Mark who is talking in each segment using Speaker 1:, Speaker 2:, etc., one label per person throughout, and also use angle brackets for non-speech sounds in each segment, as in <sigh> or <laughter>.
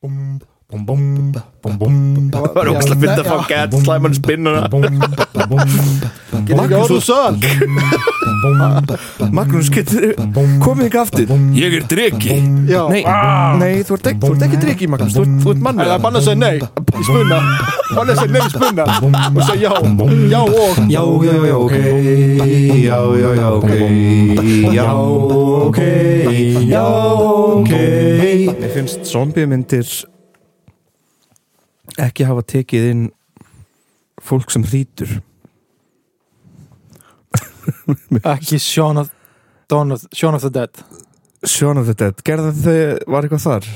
Speaker 1: Búm, búm, búm, búm, búm
Speaker 2: Það var ógæslega mynd að fá gett slæman spinnuna
Speaker 1: Magnús
Speaker 2: Magnús og Sön Magnús, getur komið ekki aftur
Speaker 3: Ég er dregi
Speaker 2: Já.
Speaker 3: Nei,
Speaker 2: Nei, þú ert ekki, þú ert ekki drikki, Magnús Þú ert, þú ert mann
Speaker 1: Nei,
Speaker 2: með
Speaker 1: það er bann að segja nei í Spunna Bann að segja nei í spunna Og segja já Já og
Speaker 2: Já, já, já, ok Já, já, já, ok Já, ok Já, ok Mér finnst zombiemyndir ekki hafa tekið inn fólk sem hrýtur
Speaker 4: Ekki Shaun of, Dawn of, Shaun of the Dead
Speaker 2: Sjón of the Dead, gerðu þau, var eitthvað þar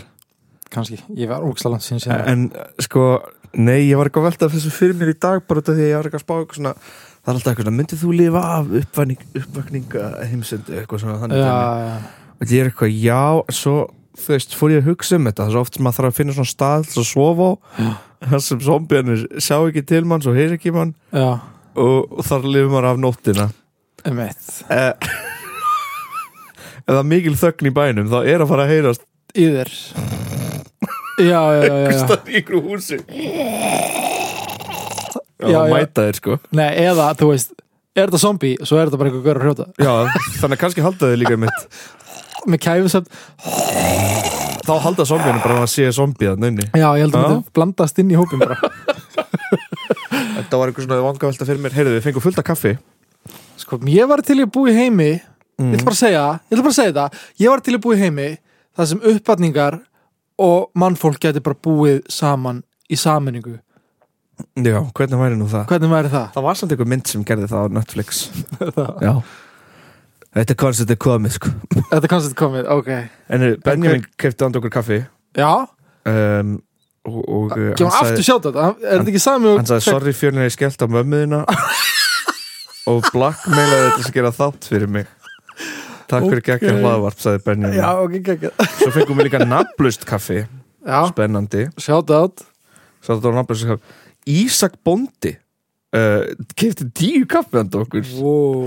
Speaker 4: kannski, ég var ógæslega langt sín síðan
Speaker 2: en sko, nei, ég var eitthvað að velta þessu fyrir mér í dag bara út af því að ég var eitthvað að spá eitthvað svona það er alltaf eitthvað svona, myndið þú lifa af uppvæning, uppvækninga heimsendu eitthvað svona
Speaker 4: Já,
Speaker 2: þannig dæmi.
Speaker 4: já,
Speaker 2: og ég er eitthvað, já, svo þú veist, fór ég að hugsa um þetta, það er svo oft sem maður þarf að finna svona stað til að sofa á þar sem zombiðanir sjá ekki til manns og heyr ekki mann
Speaker 4: já,
Speaker 2: og, og þar lifir maður af nóttina
Speaker 4: um eitt
Speaker 2: eh, <laughs> ef það er mikil þögn í bænum þá er að fara að heyrast
Speaker 4: Í þér Já, já, já, já, já.
Speaker 2: í ykkur húsi
Speaker 4: Já,
Speaker 2: og
Speaker 4: já.
Speaker 2: mæta þér sko
Speaker 4: Nei, eða, þú veist, er þetta zombie og svo er þetta bara eitthvað gaur að hrjóta
Speaker 2: Já, þannig að kannski halda þau líka mitt
Speaker 4: Með kæfisöfn,
Speaker 2: Þá halda zombiðinu bara að það sé zombið að nönni
Speaker 4: já, ég held að
Speaker 2: Já.
Speaker 4: þetta blandast inn í hópin bara
Speaker 2: Þetta var einhver svona vangavelta fyrir mér Heyrðu, við fengum fullt af kaffi
Speaker 4: Sko, ég var til í að búa í heimi Ég ætla bara að segja, ég ætla bara að segja þetta Ég var til í að búa í heimi Það sem uppatningar og mannfólk geti bara búið saman í saminningu
Speaker 2: Já, hvernig væri nú það?
Speaker 4: Hvernig væri það?
Speaker 2: Það var samt einhver mynd sem gerði það á Netflix Já Þetta er hvað sem þetta er komið sko
Speaker 4: Þetta er kannski komið, ok
Speaker 2: En heyrðu, Benjamin kefti andu okkur kaffi
Speaker 4: Já,
Speaker 2: um, Og, og uh,
Speaker 4: gefum
Speaker 2: hann
Speaker 4: aftur
Speaker 2: sagði,
Speaker 4: sjátt þetta Er þetta ekki sami og
Speaker 2: hann sagði Sorry fjörnir ég skellt á mömmuðina Og blackmailaði þetta sem gera þátt fyrir mig Takk fyrir gekkja hlaðvarp, sagði Benjamin
Speaker 4: Já, ok, ekki
Speaker 2: Svo fengum við líka nafnlaust kaffi
Speaker 4: Já,
Speaker 2: Spennandi
Speaker 4: sjátt átt
Speaker 2: Svo þetta var nafnlega sem haf Ísak Bondi uh, kefti tíu kaffi handa okkur
Speaker 4: wow.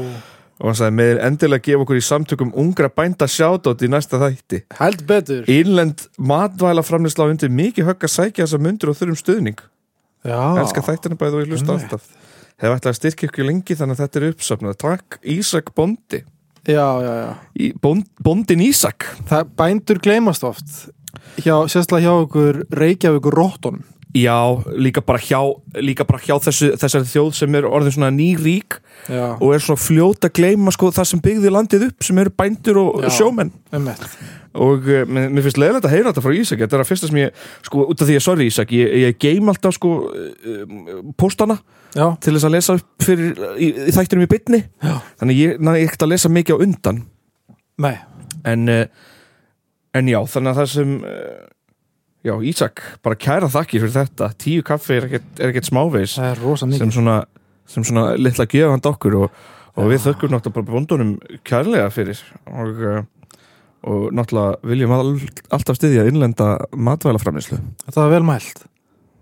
Speaker 2: og hann sagði meður endilega gefa okkur í samtökum ungra bænda sjátótt í næsta þætti
Speaker 4: Held betur
Speaker 2: Ínlend matvæla framleysla á undir mikið högg að sækja þessa mundur og þurfum stuðning
Speaker 4: Já,
Speaker 2: Elskar þættina bæði og ég hlusta
Speaker 4: Ah. Einmitt.
Speaker 2: alltaf Hef ætlað að styrkja ykkur lengi þannig að þetta er uppsöfnað Takk Ísak Bondi
Speaker 4: já, já, já
Speaker 2: í, bond, Bondin Ísak
Speaker 4: Það bændur gleymast oft hjá, Sérstaklega hjá ykkur Reykjavíkur róttunum
Speaker 2: Já, líka bara hjá, líka bara hjá þessu, þessari þjóð sem er orðin svona nýrík
Speaker 4: Já,
Speaker 2: og er svona fljóta að gleyma sko, það sem byggði landið upp sem eru bændur og
Speaker 4: Já.
Speaker 2: sjómenn
Speaker 4: um
Speaker 2: og uh, mér, mér finnst leiðilegt að heyra þetta frá Ísak þetta er að fyrsta sem ég, sko, út af því að sorry Ísak ég, ég geim alltaf sko um, postana
Speaker 4: Já,
Speaker 2: til þess að lesa upp fyrir uh, í, í þættinum í bytni
Speaker 4: Já.
Speaker 2: þannig ég næði ekkert að lesa mikið á undan
Speaker 4: nei,
Speaker 2: en, uh, en já, þannig að það sem uh, já, Ísak, bara kæra þakki fyrir þetta, tíu kaffi er ekkert, er ekkert smávegis
Speaker 4: það er rosa mikið
Speaker 2: sem svona, sem svona litla gefand okkur og, og við þökkum náttúrulega bara bóndunum kærlega fyrir og, eh, og náttúrulega viljum all, alltaf styðja innlenda matvælaframlislu
Speaker 4: Þetta var vel mælt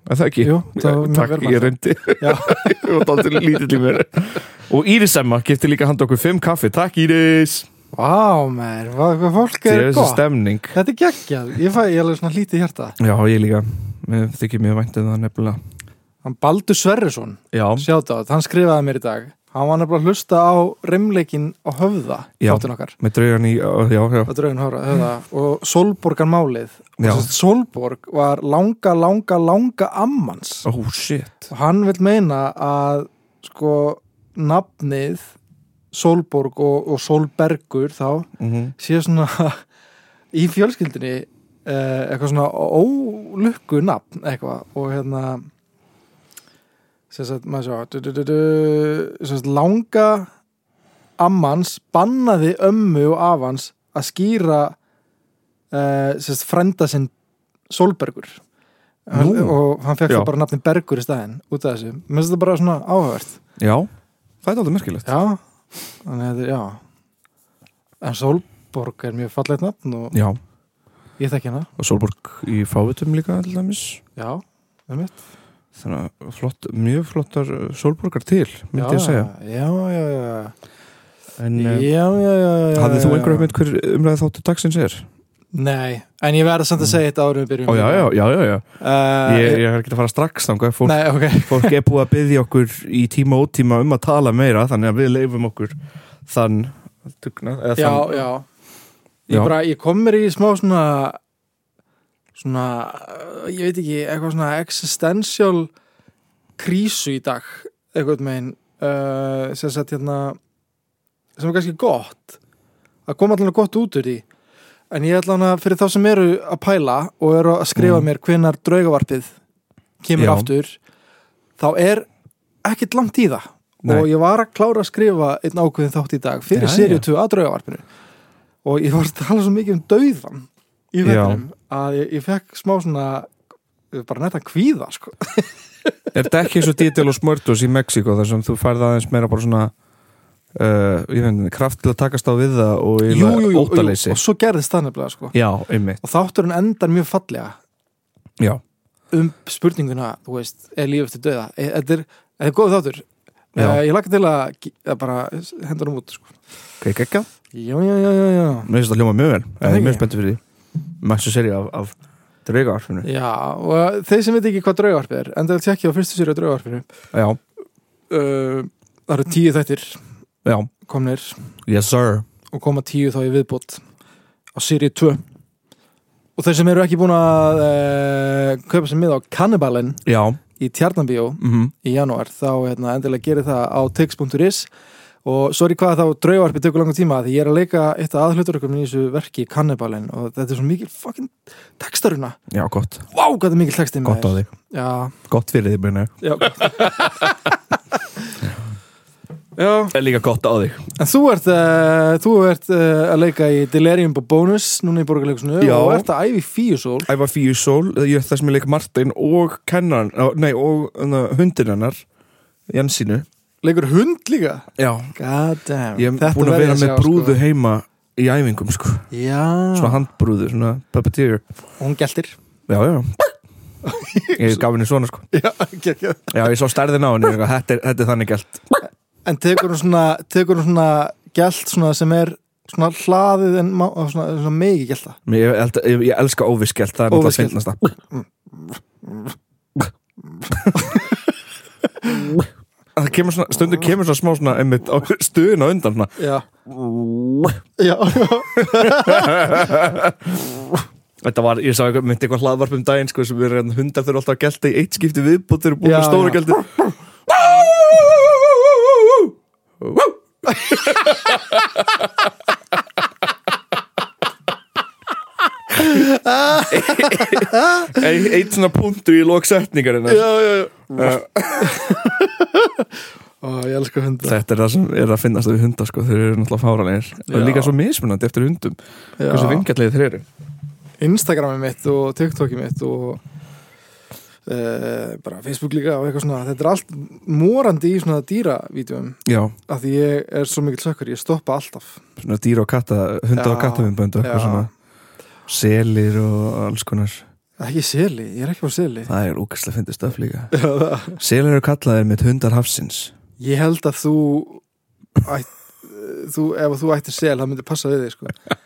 Speaker 2: Er það ekki?
Speaker 4: Jú, það var
Speaker 2: Eh,
Speaker 4: mjög
Speaker 2: Takk,
Speaker 4: vel
Speaker 2: ég
Speaker 4: mælt.
Speaker 2: reyndi <laughs> Ég var dálítið lítill í mér Og Íris Emma gifti líka handa okkur fimm kaffi Takk Íris
Speaker 4: Vá, mér, hvað hvað fólk
Speaker 2: Þið
Speaker 4: er
Speaker 2: er þessi
Speaker 4: gott
Speaker 2: stemning
Speaker 4: Þetta er geggjað, ég fæ, ég er alveg svona lítið hjarta
Speaker 2: Já, ég líka Mér þykir mjög vænt um það nefnilega
Speaker 4: Hann Baldur Sverrisson,
Speaker 2: Já,
Speaker 4: sjáta hann skrifaði mér í dag Hann var nefnilega að hlusta á remleikin á höfða
Speaker 2: Já.
Speaker 4: Þáttin okkar,
Speaker 2: með draugan í Já, já,
Speaker 4: á draugun höfða, höfða Og Solborgan málið
Speaker 2: Já.
Speaker 4: Solborg var langa, langa, langa ammans
Speaker 2: ó, oh, shit
Speaker 4: Og hann vil meina að sko nafnið Solborg og, og Solbergur þá
Speaker 2: mm
Speaker 4: sé svona <laughs> í fjölskyldinni eh, eitthvað svona ólukku nafn eitthvað og hérna sem sagt, maður sjá du, du, du, du, sem sagt, langa ammans bannaði ömmu og afans að skýra eh, sem sagt, frenda sinn Solbergur hann,
Speaker 2: Nú.
Speaker 4: og hann fekk
Speaker 2: Já.
Speaker 4: það bara nafni Bergur í staðinn út af þessu, mér finnst þetta bara svona áhugavert
Speaker 2: Já, það er aldrei merkilegt
Speaker 4: Já, þannig að þetta er, já En Solborg er mjög fallegt nafn og
Speaker 2: Já,
Speaker 4: ég þekki hana
Speaker 2: og Solborg í fávitum líka til dæmis
Speaker 4: Já, um mitt
Speaker 2: þannig að flott, mjög flottar uh, Solborgar til, myndi ég að segja
Speaker 4: Já, já, já
Speaker 2: en
Speaker 4: Já,
Speaker 2: uh,
Speaker 4: já, já, já, já
Speaker 2: hafði þú
Speaker 4: já,
Speaker 2: einhverja
Speaker 4: já.
Speaker 2: mynd hver umræði þáttu dagsins er?
Speaker 4: Nei, en ég verða samt að segja þetta árum við byrjum
Speaker 2: Mm. Ó, já, já, já, já, já.
Speaker 4: Uh,
Speaker 2: Ég, ég er ekki að fara strax þangað fólk,
Speaker 4: Nei, ok
Speaker 2: fólk er búið að byggja okkur í tíma og tíma um að tala meira þannig að við leifum okkur þann tugna, eða
Speaker 4: Já,
Speaker 2: þann
Speaker 4: já Ég,
Speaker 2: Já.
Speaker 4: bara, ég kom mér í smá svona svona, uh, ég veit ekki eitthvað svona existential krísu í dag eitthvað megin uh, sem sagt hérna sem er kannski gott að koma allan gott út úr því en ég ætla hana fyrir þá sem eru að pæla og eru að skrifa
Speaker 2: Mm.
Speaker 4: mér hvenar draugavarpið kemur
Speaker 2: Já.
Speaker 4: aftur þá er ekkert langt í það
Speaker 2: Nei.
Speaker 4: og ég var að klára að skrifa einn ákveðin þátt í dag fyrir
Speaker 2: Jæja.
Speaker 4: serið 2 að draugavarpinu og ég var að tala svo mikið um dauðan í
Speaker 2: Já.
Speaker 4: vettinum að ég, ég fekk smá svona eh, bara netta kvíða sko.
Speaker 2: Er þetta ekki eins og dítil og smörtus í Mexiko þar sem þú færð aðeins meira bara svona uh, ég veit, ekki, kraft til að takast á við það og
Speaker 4: Jú,
Speaker 2: ég
Speaker 4: jú, jú, jú,
Speaker 2: óttaleysi
Speaker 4: og svo gerðist það nefnilega sko.
Speaker 2: Já, einmitt,
Speaker 4: og þátturinn endar mjög fallega
Speaker 2: já
Speaker 4: um spurninguna, þú veist, er líf eftir döða E- þetta er, þetta er góð þáttur
Speaker 2: Já.
Speaker 4: Eh, ég laka til að, ge- að bara henda hann út sko.
Speaker 2: Kveik ekki á
Speaker 4: já, já, já, já, já
Speaker 2: Mér finnst það hljóma mjög vel,
Speaker 4: Það
Speaker 2: ég er
Speaker 4: ekki.
Speaker 2: mjög spenntur fyrir því Mæstu seri af, af draugaarfinu
Speaker 4: já, og þeir sem veit ekki hvað draugarp er enda að tjekki á fyrstu sér á draugarpinu
Speaker 2: Já,
Speaker 4: uh, það eru tíu þættir
Speaker 2: já,
Speaker 4: komnir
Speaker 2: yes sir
Speaker 4: og koma tíu þá í viðbót á Siri 2 og þeir sem eru ekki búin að uh, kaupa sem miða á Cannibalin
Speaker 2: Já,
Speaker 4: í Tjarnabíó
Speaker 2: mm
Speaker 4: í janúar þá hérna, endilega gerir það á tix.is og sorry hvað þá draugarpi tökur langan tíma því ég er að leika eitt af aðhluturökum í þessu verki Kannibalin og þetta er svo mikil fucking textaruna,
Speaker 2: já, gott,
Speaker 4: vá wow, hvað er mikil texti
Speaker 2: gott á þig
Speaker 4: já,
Speaker 2: Gott fyrir þig, minna
Speaker 4: já,
Speaker 2: <laughs>
Speaker 4: gott. já,
Speaker 2: Er líka gott á þig
Speaker 4: en þú ert uh, þú ert uh, að leika í Delirium Bonus núna í borgarleikusinu
Speaker 2: Já.
Speaker 4: og ert að æfi fíusól
Speaker 2: Æfa Fíu Sól, ég er það sem ég leik Martin og kennan, nei, og uh, hundin hennar Jensínu
Speaker 4: leikur hund líka
Speaker 2: Já,
Speaker 4: god damn
Speaker 2: ég hef
Speaker 4: Þetta verð
Speaker 2: búin að sko.
Speaker 4: ég
Speaker 2: vera með
Speaker 4: sjá,
Speaker 2: brúðu heima í æfingum, sko
Speaker 4: sko. já,
Speaker 2: Svona handbrúðu, svona puppeteer
Speaker 4: Og hún geltir
Speaker 2: Já, <laughs> já Ég gaf henni svona, sko
Speaker 4: <laughs> já, ekki, ekki
Speaker 2: Já, ég svo stærðin á henni, ég eitthvað, þetta er, þetta er þannig gælt
Speaker 4: En tekur hún svona, tekur hún svona gælt svona sem er svona hlaðið en má, svona, svona mikið gælta.
Speaker 2: Mér, ég, held- ég, ég elska óviskelt, það er náttúrulega
Speaker 4: Óviskhelt.
Speaker 2: finnast það Það kemur svona, stundu kemur svona smá svona einmitt á stuðin á undan svona
Speaker 4: Já. Já, <laughs>
Speaker 2: Þetta var, ég sá eitthvað, myndi eitthvað hlaðvarp um daginn sko, sem við erum hundar þurfa alltaf að gelta í eitt skipti viðbútt þeir eru búin
Speaker 4: Já,
Speaker 2: með
Speaker 4: já.
Speaker 2: stóra gelti Eitt eitt svona punktu í Eh, loksetningarinn
Speaker 4: já, já, já. Ó, ég elska hundar.
Speaker 2: Þetta er það sem er að finnast við hunda sko, þeir eru náttúrulega fáranir
Speaker 4: Já.
Speaker 2: og líka svo mismunandi eftir hundum hversu vingjallegið þeir eru
Speaker 4: Instagramið mitt og TikTokið mitt og uh, bara Facebook líka og eitthvað svona. Þetta er allt morandi í svona dýravídjum
Speaker 2: Já,
Speaker 4: af því ég er svo mikill sökkur, ég stoppa alltaf.
Speaker 2: svona dýra og katta hunda
Speaker 4: Já.
Speaker 2: og kattavinnböndu
Speaker 4: Já.
Speaker 2: selir og alls konar
Speaker 4: Ekki seli, ég er ekki á seli.
Speaker 2: <laughs> það er úkastlega fyndið stöf líka selir eru kallaðir mitt hundar hafsins
Speaker 4: Ég held að þú ætt, þú, ef þú ættir sel það myndi passa við þig sko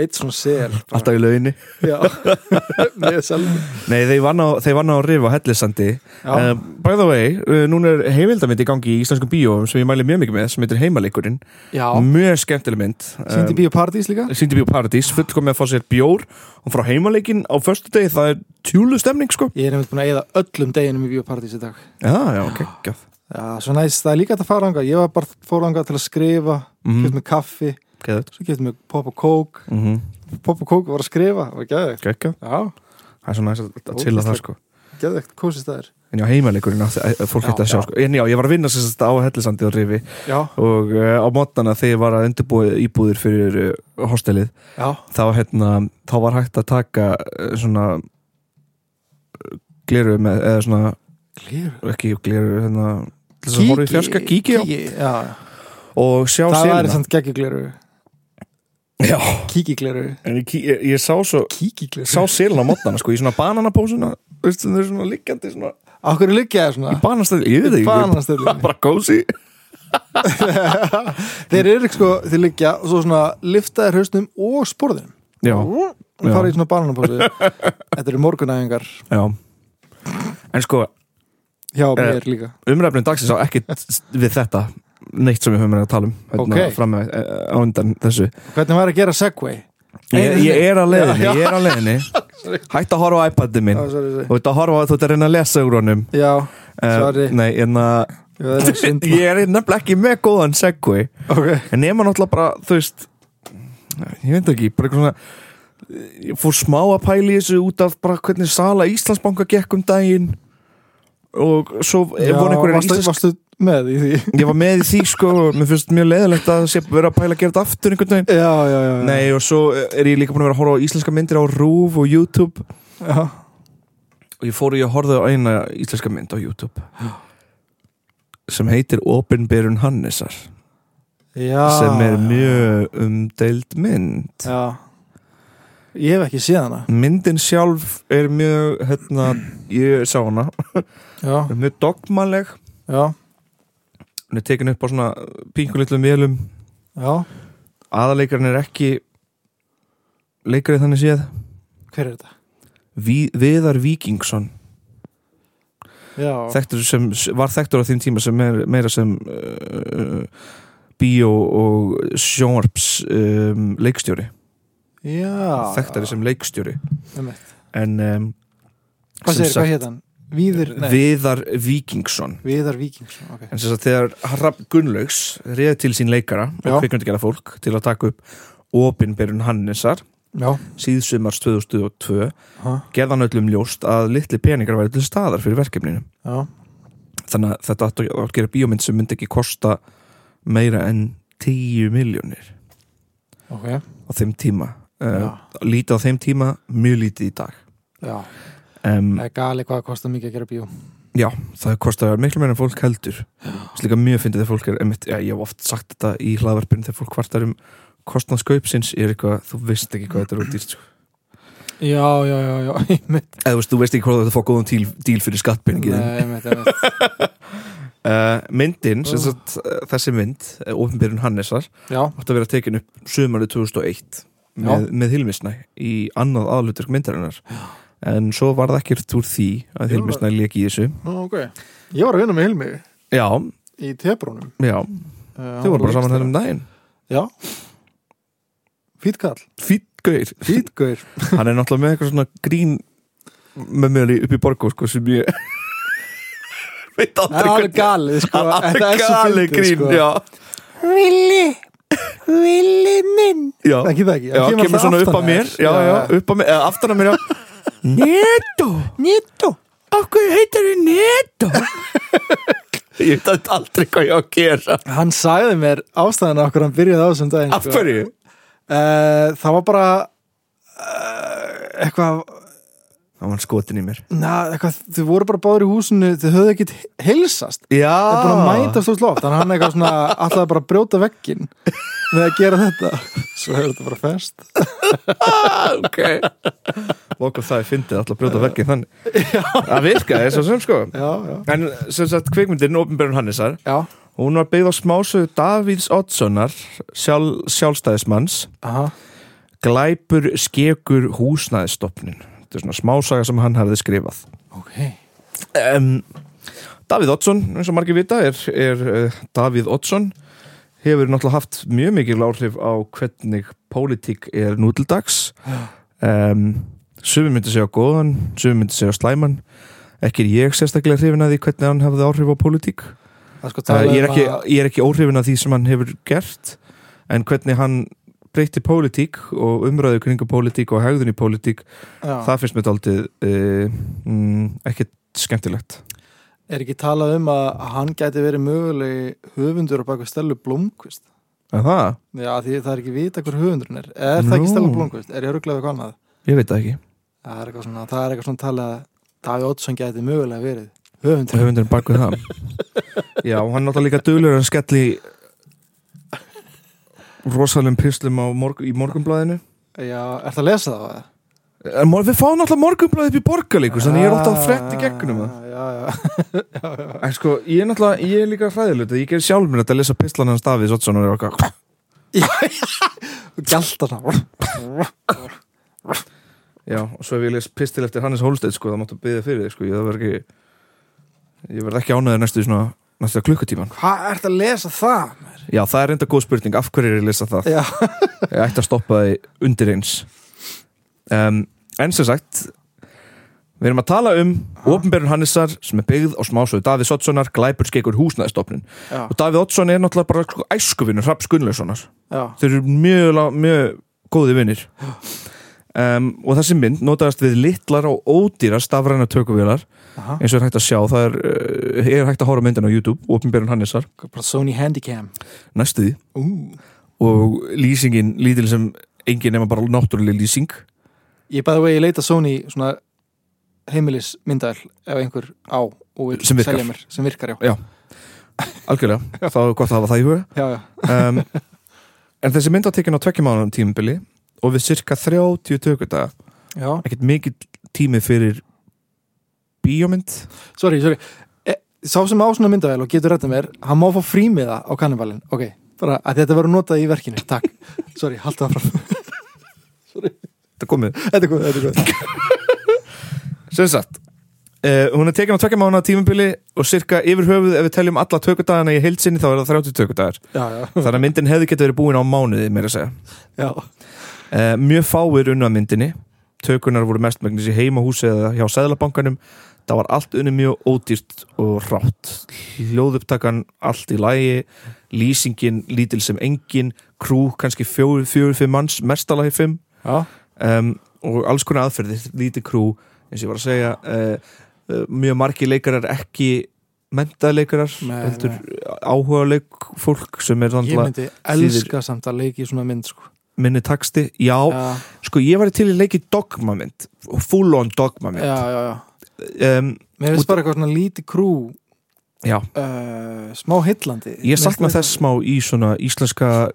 Speaker 4: Eitt svona sel bara.
Speaker 2: alltaf í launni
Speaker 4: Já, <laughs> með selmi
Speaker 2: Nei, þeir vann á, þeir vann á rif á hellisandi
Speaker 4: Já,
Speaker 2: Uh, by the way, uh, núna er heimildamind í gangi í íslenskum bíóum sem ég mæli mjög mikið með sem heitir Heimaleikurinn,
Speaker 4: já
Speaker 2: mjög skemmtileg mynd Eh,
Speaker 4: Sýndi Bíó Paradís líka
Speaker 2: Sýndi Bíó Paradís, fullkomið að fá sér bjór og frá heimaleikin á förstu degi það er tjúlu stemning sko
Speaker 4: Ég er nefnt búin að eyða öllum deginum í Bíó Paradís í dag
Speaker 2: Já, já, geggjað
Speaker 4: Já, svo næst, það er líka hægt að fara anga Ég var bara fór anga til að skrifa mm.
Speaker 2: Mhm.
Speaker 4: mig kaffi,
Speaker 2: Geðveikt.
Speaker 4: svo getur mig pop og kók
Speaker 2: Mhm,
Speaker 4: Pop og kók var að skrifa, var geðvegt
Speaker 2: Geggjað,
Speaker 4: Já,
Speaker 2: það er svo næst að- að chilla það sko
Speaker 4: geðvegt, kósist það er
Speaker 2: En já, heimaleikurinn, átti- eh, fólk
Speaker 4: Já,
Speaker 2: hætti að sjá
Speaker 4: já.
Speaker 2: sko En já, ég var að vinna sér þetta á hellisandi á rifi
Speaker 4: Já,
Speaker 2: og uh, á mótnana þegar ég var að undirbúið íbúðir fyrir uh, hostelið
Speaker 4: já,
Speaker 2: þá, hérna, þá var hægt að taka eh, svona gleru með, eða svona
Speaker 4: klíru
Speaker 2: ekki gleru, hérna til þess að horfa í fjarska, kíkja á-
Speaker 4: Já,
Speaker 2: og sjá
Speaker 4: það
Speaker 2: selina
Speaker 4: var samt geggjugleru
Speaker 2: Já,
Speaker 4: Kíkigleru
Speaker 2: en ég, kí- ég, ég sá svo
Speaker 4: Kíkigleru
Speaker 2: sá selina á mótnana, sko, í svona bananapósuna veistu, þau eru svona liggjandi svona
Speaker 4: Á hverju liggja það svona?
Speaker 2: í banastæði, ég veit
Speaker 4: Í
Speaker 2: ekki
Speaker 4: bananastöðinni.
Speaker 2: bara kósi
Speaker 4: Þeir eru sko, þeir liggja og svo svona liftaðir hausnum og sporðinum
Speaker 2: Já,
Speaker 4: og
Speaker 2: Já.
Speaker 4: fara í svona bananapósu þetta eru morgunæfingar
Speaker 2: Já En sko,
Speaker 4: hjá
Speaker 2: Eh,
Speaker 4: mér líka
Speaker 2: umræfnum dagsins á ekkit við þetta neitt sem við höfum verið að tala um hérna,
Speaker 4: Ok.
Speaker 2: fram með, eh, á undan þessu
Speaker 4: hvernig var að gera segway?
Speaker 2: ég, ég er á leiðinni, ég er á
Speaker 4: <laughs>
Speaker 2: leiðinni Hætt að horfa á iPadið minn
Speaker 4: Ah, sorry, sorry.
Speaker 2: Þú ert að horfa, þú ert að reyna að lesa úr honum
Speaker 4: já,
Speaker 2: Eh,
Speaker 4: Sorry.
Speaker 2: Nei, en að
Speaker 4: ég var að synda
Speaker 2: Ég er nefnilega ekki með góðan segway
Speaker 4: ok,
Speaker 2: En nema náttúrulega bara, þú veist Ég veit ekki, bara eitthvað svona Ég fór smá að pæla í þessu út af bara hvernig sala Íslandsbanka gekk um daginn og svo
Speaker 4: já,
Speaker 2: voru einhverjir
Speaker 4: varstu,
Speaker 2: íslensk-
Speaker 4: varstu með í því
Speaker 2: ég var með í því sko og mér finnst mjög leiðilegt að sé vera að pæla að gera þetta aftur einhvern veginn
Speaker 4: <laughs> já, já, já, já.
Speaker 2: Nei og svo er ég líka búin að vera að horfa á íslenska myndir á RÚV og YouTube
Speaker 4: já.
Speaker 2: og ég fór í að horfa á eina íslenska mynd á YouTube sem heitir Opinberun Hannesar
Speaker 4: já
Speaker 2: sem er mjög umdeild mynd
Speaker 4: já. ég hef ekki séð hana
Speaker 2: Myndin sjálf er mjög hérna, ég sá hana
Speaker 4: já,
Speaker 2: er mjög dogmaleg
Speaker 4: já,
Speaker 2: hún er tekin upp á svona pinkulitlum vélum
Speaker 4: já
Speaker 2: aðaleikarinn er ekki leikarið þannig séð
Speaker 4: hver er þetta?
Speaker 2: Vi, Viðar Víkingsson
Speaker 4: já,
Speaker 2: þekktur sem, var þekktur á þeim tíma sem er meira sem uh, bíó og sjónvarps um, leikstjóri
Speaker 4: já
Speaker 2: þekktari sem leikstjóri
Speaker 4: Einmitt.
Speaker 2: en um,
Speaker 4: hvað segir, hvað hétt hann? Víður, nei,
Speaker 2: Viðar Víkingsson
Speaker 4: Viðar Víkingsson ok.
Speaker 2: en sem sagt þegar Hrafn Gunnlaugs reið til sín leikara
Speaker 4: Já.
Speaker 2: og kvikmyndagjara fólk til að taka upp Opinberun Hannesar
Speaker 4: já,
Speaker 2: síðsumars 2002
Speaker 4: ha,
Speaker 2: gerðan öllum ljóst að litli peningar væri til staðar fyrir verkefninu
Speaker 4: já,
Speaker 2: þannig að þetta átti að gera bíómynd sem myndi ekki kosta meira en 10 miljónir
Speaker 4: ok
Speaker 2: á þeim tíma
Speaker 4: já,
Speaker 2: uh, lítið á þeim tíma, mjög lítið í dag
Speaker 4: já
Speaker 2: um,
Speaker 4: það er gali hvað það kostar mikið að gera bíó
Speaker 2: já, það kostar miklu meira en fólk heldur slíka mjög fyndið þegar fólk er einmitt, já, ég hef oft sagt þetta í hlaðvarpinu þegar fólk kvartar um kostnadskaupsins er eitthvað, þú veist ekki hvað þetta er sko. út í
Speaker 4: já, já, já, já, einmitt
Speaker 2: eða þú veist, þú veist ekki hvað þetta fór góðan díl, díl fyrir skattpeningin <laughs>
Speaker 4: nei, einmitt, einmitt
Speaker 2: uh, myndin, sem sagt, uh, þessi mynd uh, ofinbyrjun Hannesar
Speaker 4: já,
Speaker 2: átti að vera tekin upp sumarið 2001 með, með Hilmisnæ í annað aðluturk myndarinnar en svo var það ekkert úr því að
Speaker 4: Jú,
Speaker 2: Hilmisnæ leki í þessu
Speaker 4: Nú, ok ég var að vinna með Hilmi
Speaker 2: Já,
Speaker 4: í tebrónum
Speaker 2: já, þau voru bara saman hennum daginn
Speaker 4: já fýtt kall,
Speaker 2: Fýtt gauðir,
Speaker 4: fýtt
Speaker 2: <laughs>
Speaker 4: gaur
Speaker 2: hann er náttúrulega með eitthvað svona grín með mér upp í borgu sko, sem ég <laughs> veit
Speaker 4: það er
Speaker 2: aldrei
Speaker 4: alveg galið sko
Speaker 2: Það er
Speaker 4: Þetta er svo
Speaker 2: gali
Speaker 4: fyndið,
Speaker 2: grín,
Speaker 4: sko.
Speaker 2: já
Speaker 4: Willi Willi minn
Speaker 2: Já,
Speaker 4: ekki það ekki
Speaker 2: já
Speaker 4: hann
Speaker 2: kemur
Speaker 4: alltaf
Speaker 2: svona upp
Speaker 4: aftan
Speaker 2: að mér Já, já, upp að mér, eða aftan að mér, já <laughs> Netto,
Speaker 4: Nýttu
Speaker 2: okkur heitir þið Netto <laughs> Ég veit að aldrei hvað ég á að gera
Speaker 4: hann sagði mér ástæðan okkur hann byrjaði á þessum daginn sko.
Speaker 2: Af hverju?
Speaker 4: Eh, það var bara eh, eitthvað
Speaker 2: Það var skotin í mér
Speaker 4: Na, eitthvað, þau voru bara báður í húsinu þau höfðu ekkit heilsast
Speaker 2: Já
Speaker 4: Það er búin
Speaker 2: Ah.
Speaker 4: að mæta svo slótt Þannig hann eitthvað svona alltaf bara að brjóta veggin með að gera
Speaker 2: <laughs>
Speaker 4: þetta Svo hefur þetta bara fest
Speaker 2: <laughs> Ok Okkur það er fyndið alltaf að brjóta veggin þannig Það virkaði svo sem sko
Speaker 4: Já, já
Speaker 2: En sem sagt kvikmyndin Ópenbjörn Hannesar
Speaker 4: Já,
Speaker 2: Hún var byggð á smásöðu Davíðs Oddssonar sjálf, Sjálfstæðismanns
Speaker 4: aha,
Speaker 2: Glæpur skekur húsnæðistofnin Þetta er svona smásaga sem hann hafði skrifað
Speaker 4: ok
Speaker 2: um, Davíð Oddsson eins og margir vita er, er uh, Davíð Oddsson hefur náttúrulega haft mjög mikil áhrif á hvernig pólitík er nú til dags um, sumi myndi segja góðan sumi myndi segja slæman ekki er ég sérstaklega hrifin að því hvernig hann hafði áhrif á pólitík
Speaker 4: Það er sko
Speaker 2: uh,
Speaker 4: talað
Speaker 2: ég, er
Speaker 4: um
Speaker 2: ekki,
Speaker 4: að-
Speaker 2: ég er ekki óhrifin að því sem hann hefur gert en hvernig hann breytti pólitík og umræðu kringu pólitík og hegðun í pólitík
Speaker 4: já,
Speaker 2: það finnst mér daldið uh, mm, ekkert skemmtilegt
Speaker 4: Er ekki talað um að að hann gæti verið mögulegi höfundur á baku Stellu Blomqvist
Speaker 2: En það?
Speaker 4: Já, því það er ekki vita hver höfundurinn er Er það
Speaker 2: Nú.
Speaker 4: ekki Stellu Blomqvist? Er ég rugglaði hvað annað?
Speaker 2: Ég veit það ekki.
Speaker 4: Það er eitthvað svona, það er eitthvað svona talað að Davíð Oddsson gæti mögulega verið höfundur
Speaker 2: Höfundurinn bak við <laughs> það. Já, og hann er náttúrulega líka duglur að skelli rosalum pislum á morg í morgunblæðinu.
Speaker 4: Já, er það að lesa það? eða?
Speaker 2: En Eh, mor- við fáum náttúrulega morgunblæði upp í borgarleikur, þannig ég er alltaf að frett í gegnum það.
Speaker 4: Ah, Já, já, <laughs>
Speaker 2: En sko, ég er náttúrulega, ég er líka hræðilut, ég ger sjálf mér þetta að lesa pislan hans Davíðs Oddsson og er okkar.
Speaker 4: Gjaldarnár
Speaker 2: Já, og svo ef ég les pistil eftir Hannes Hólstedt sko, það máttu byggja fyrir þig sko, ég það verð ekki ég verð ekki ánæður næstu svona næstu klukkutíman.
Speaker 4: Hvað ert að lesa það? maður?
Speaker 2: Já, það er enda góð spurning, af hverju er ég að lesa það?
Speaker 4: Já,
Speaker 2: Ég ætti að stoppa þið undir eins um, En sem sagt Við erum að tala um Opinberun Hannesar sem er byggð á smásöðu Davíð Sottsonar, Glæpur skeikur húsnæðistofnun
Speaker 4: já,
Speaker 2: og Davíð Ottsson er náttúrulega bara sko, æskuvinur Hrafs Gunnlausonar
Speaker 4: já,
Speaker 2: Þeir eru mjög, lá- mjög góði vinnir um, Og þessi mynd notaðast við litlar og ódýra stafræna tökuvélar
Speaker 4: aha
Speaker 2: eins og er hægt að sjá, það er, uh, er hægt að hóra myndin á YouTube, Opinberun Hannesar
Speaker 4: Bara Sony Handycam
Speaker 2: næstu því
Speaker 4: Ú.
Speaker 2: og lýsingin lítil sem engin nema bara náttúrulega lýsing
Speaker 4: Ég bæði vegi, ég leita Sony svona heimilismyndal ef einhver á og vil
Speaker 2: Sem virkar.
Speaker 4: selja mér sem virkar, já,
Speaker 2: Algjörlega, þá er gott að hafa það í huga
Speaker 4: já, já.
Speaker 2: um, En þessi mynd var tekin á tvekki mánum tímabili og við cirka 30 tökudaga
Speaker 4: já.
Speaker 2: ekkert mikill tími fyrir bíómynd
Speaker 4: Sorry, sorry e, Sá sem á svona myndavél og getur rættið mér hann má fá frímiða á kannibalin Ok, bara að þetta verður notað í verkinu
Speaker 2: <laughs>
Speaker 4: Takk, sorry, halda það fram
Speaker 2: Þetta er komið
Speaker 4: Þetta er góð, þetta er góð
Speaker 2: Sem sagt, uh, hún er tekin á tvekki mánum tímabili og cirka yfir höfuð ef við teljum alla tökudagana í heilsinni þá er það 30 tökudagar
Speaker 4: Já, já,
Speaker 2: Þannig að myndin hefði getið verið búin á mánuði meira að segja
Speaker 4: já,
Speaker 2: Eh, mjög fáir unna myndinni tökunar voru mest megnis í heimahúsi eða hjá Sæðlabankanum það var allt unni mjög ódýrt og rátt hljóðupptakan allt í lægi lýsingin lítil sem engin krú kannski fjóri, fjóri, fimm manns mestalagi fimm
Speaker 4: já.
Speaker 2: um, og alls konar aðferðir, lítið krú eins og ég var að segja uh, uh, mjög margi leikarar ekki mentaðleikarar,
Speaker 4: Nei,
Speaker 2: heldur áhuga leikfólk sem er
Speaker 4: Ég
Speaker 2: náttúrulega
Speaker 4: myndi elska samt að leiki í svona mynd sko.
Speaker 2: minni taksti, já,
Speaker 4: Já,
Speaker 2: Sko ég var til í leiki dogmamynd Full on
Speaker 4: já,
Speaker 2: dogmamynd já.
Speaker 4: já, já
Speaker 2: Um,
Speaker 4: Mér
Speaker 2: Út-
Speaker 4: finnst bara eitthvað svona lítið krú
Speaker 2: já,
Speaker 4: uh, Smá hillandi
Speaker 2: ég sakna þess smá í svona íslenska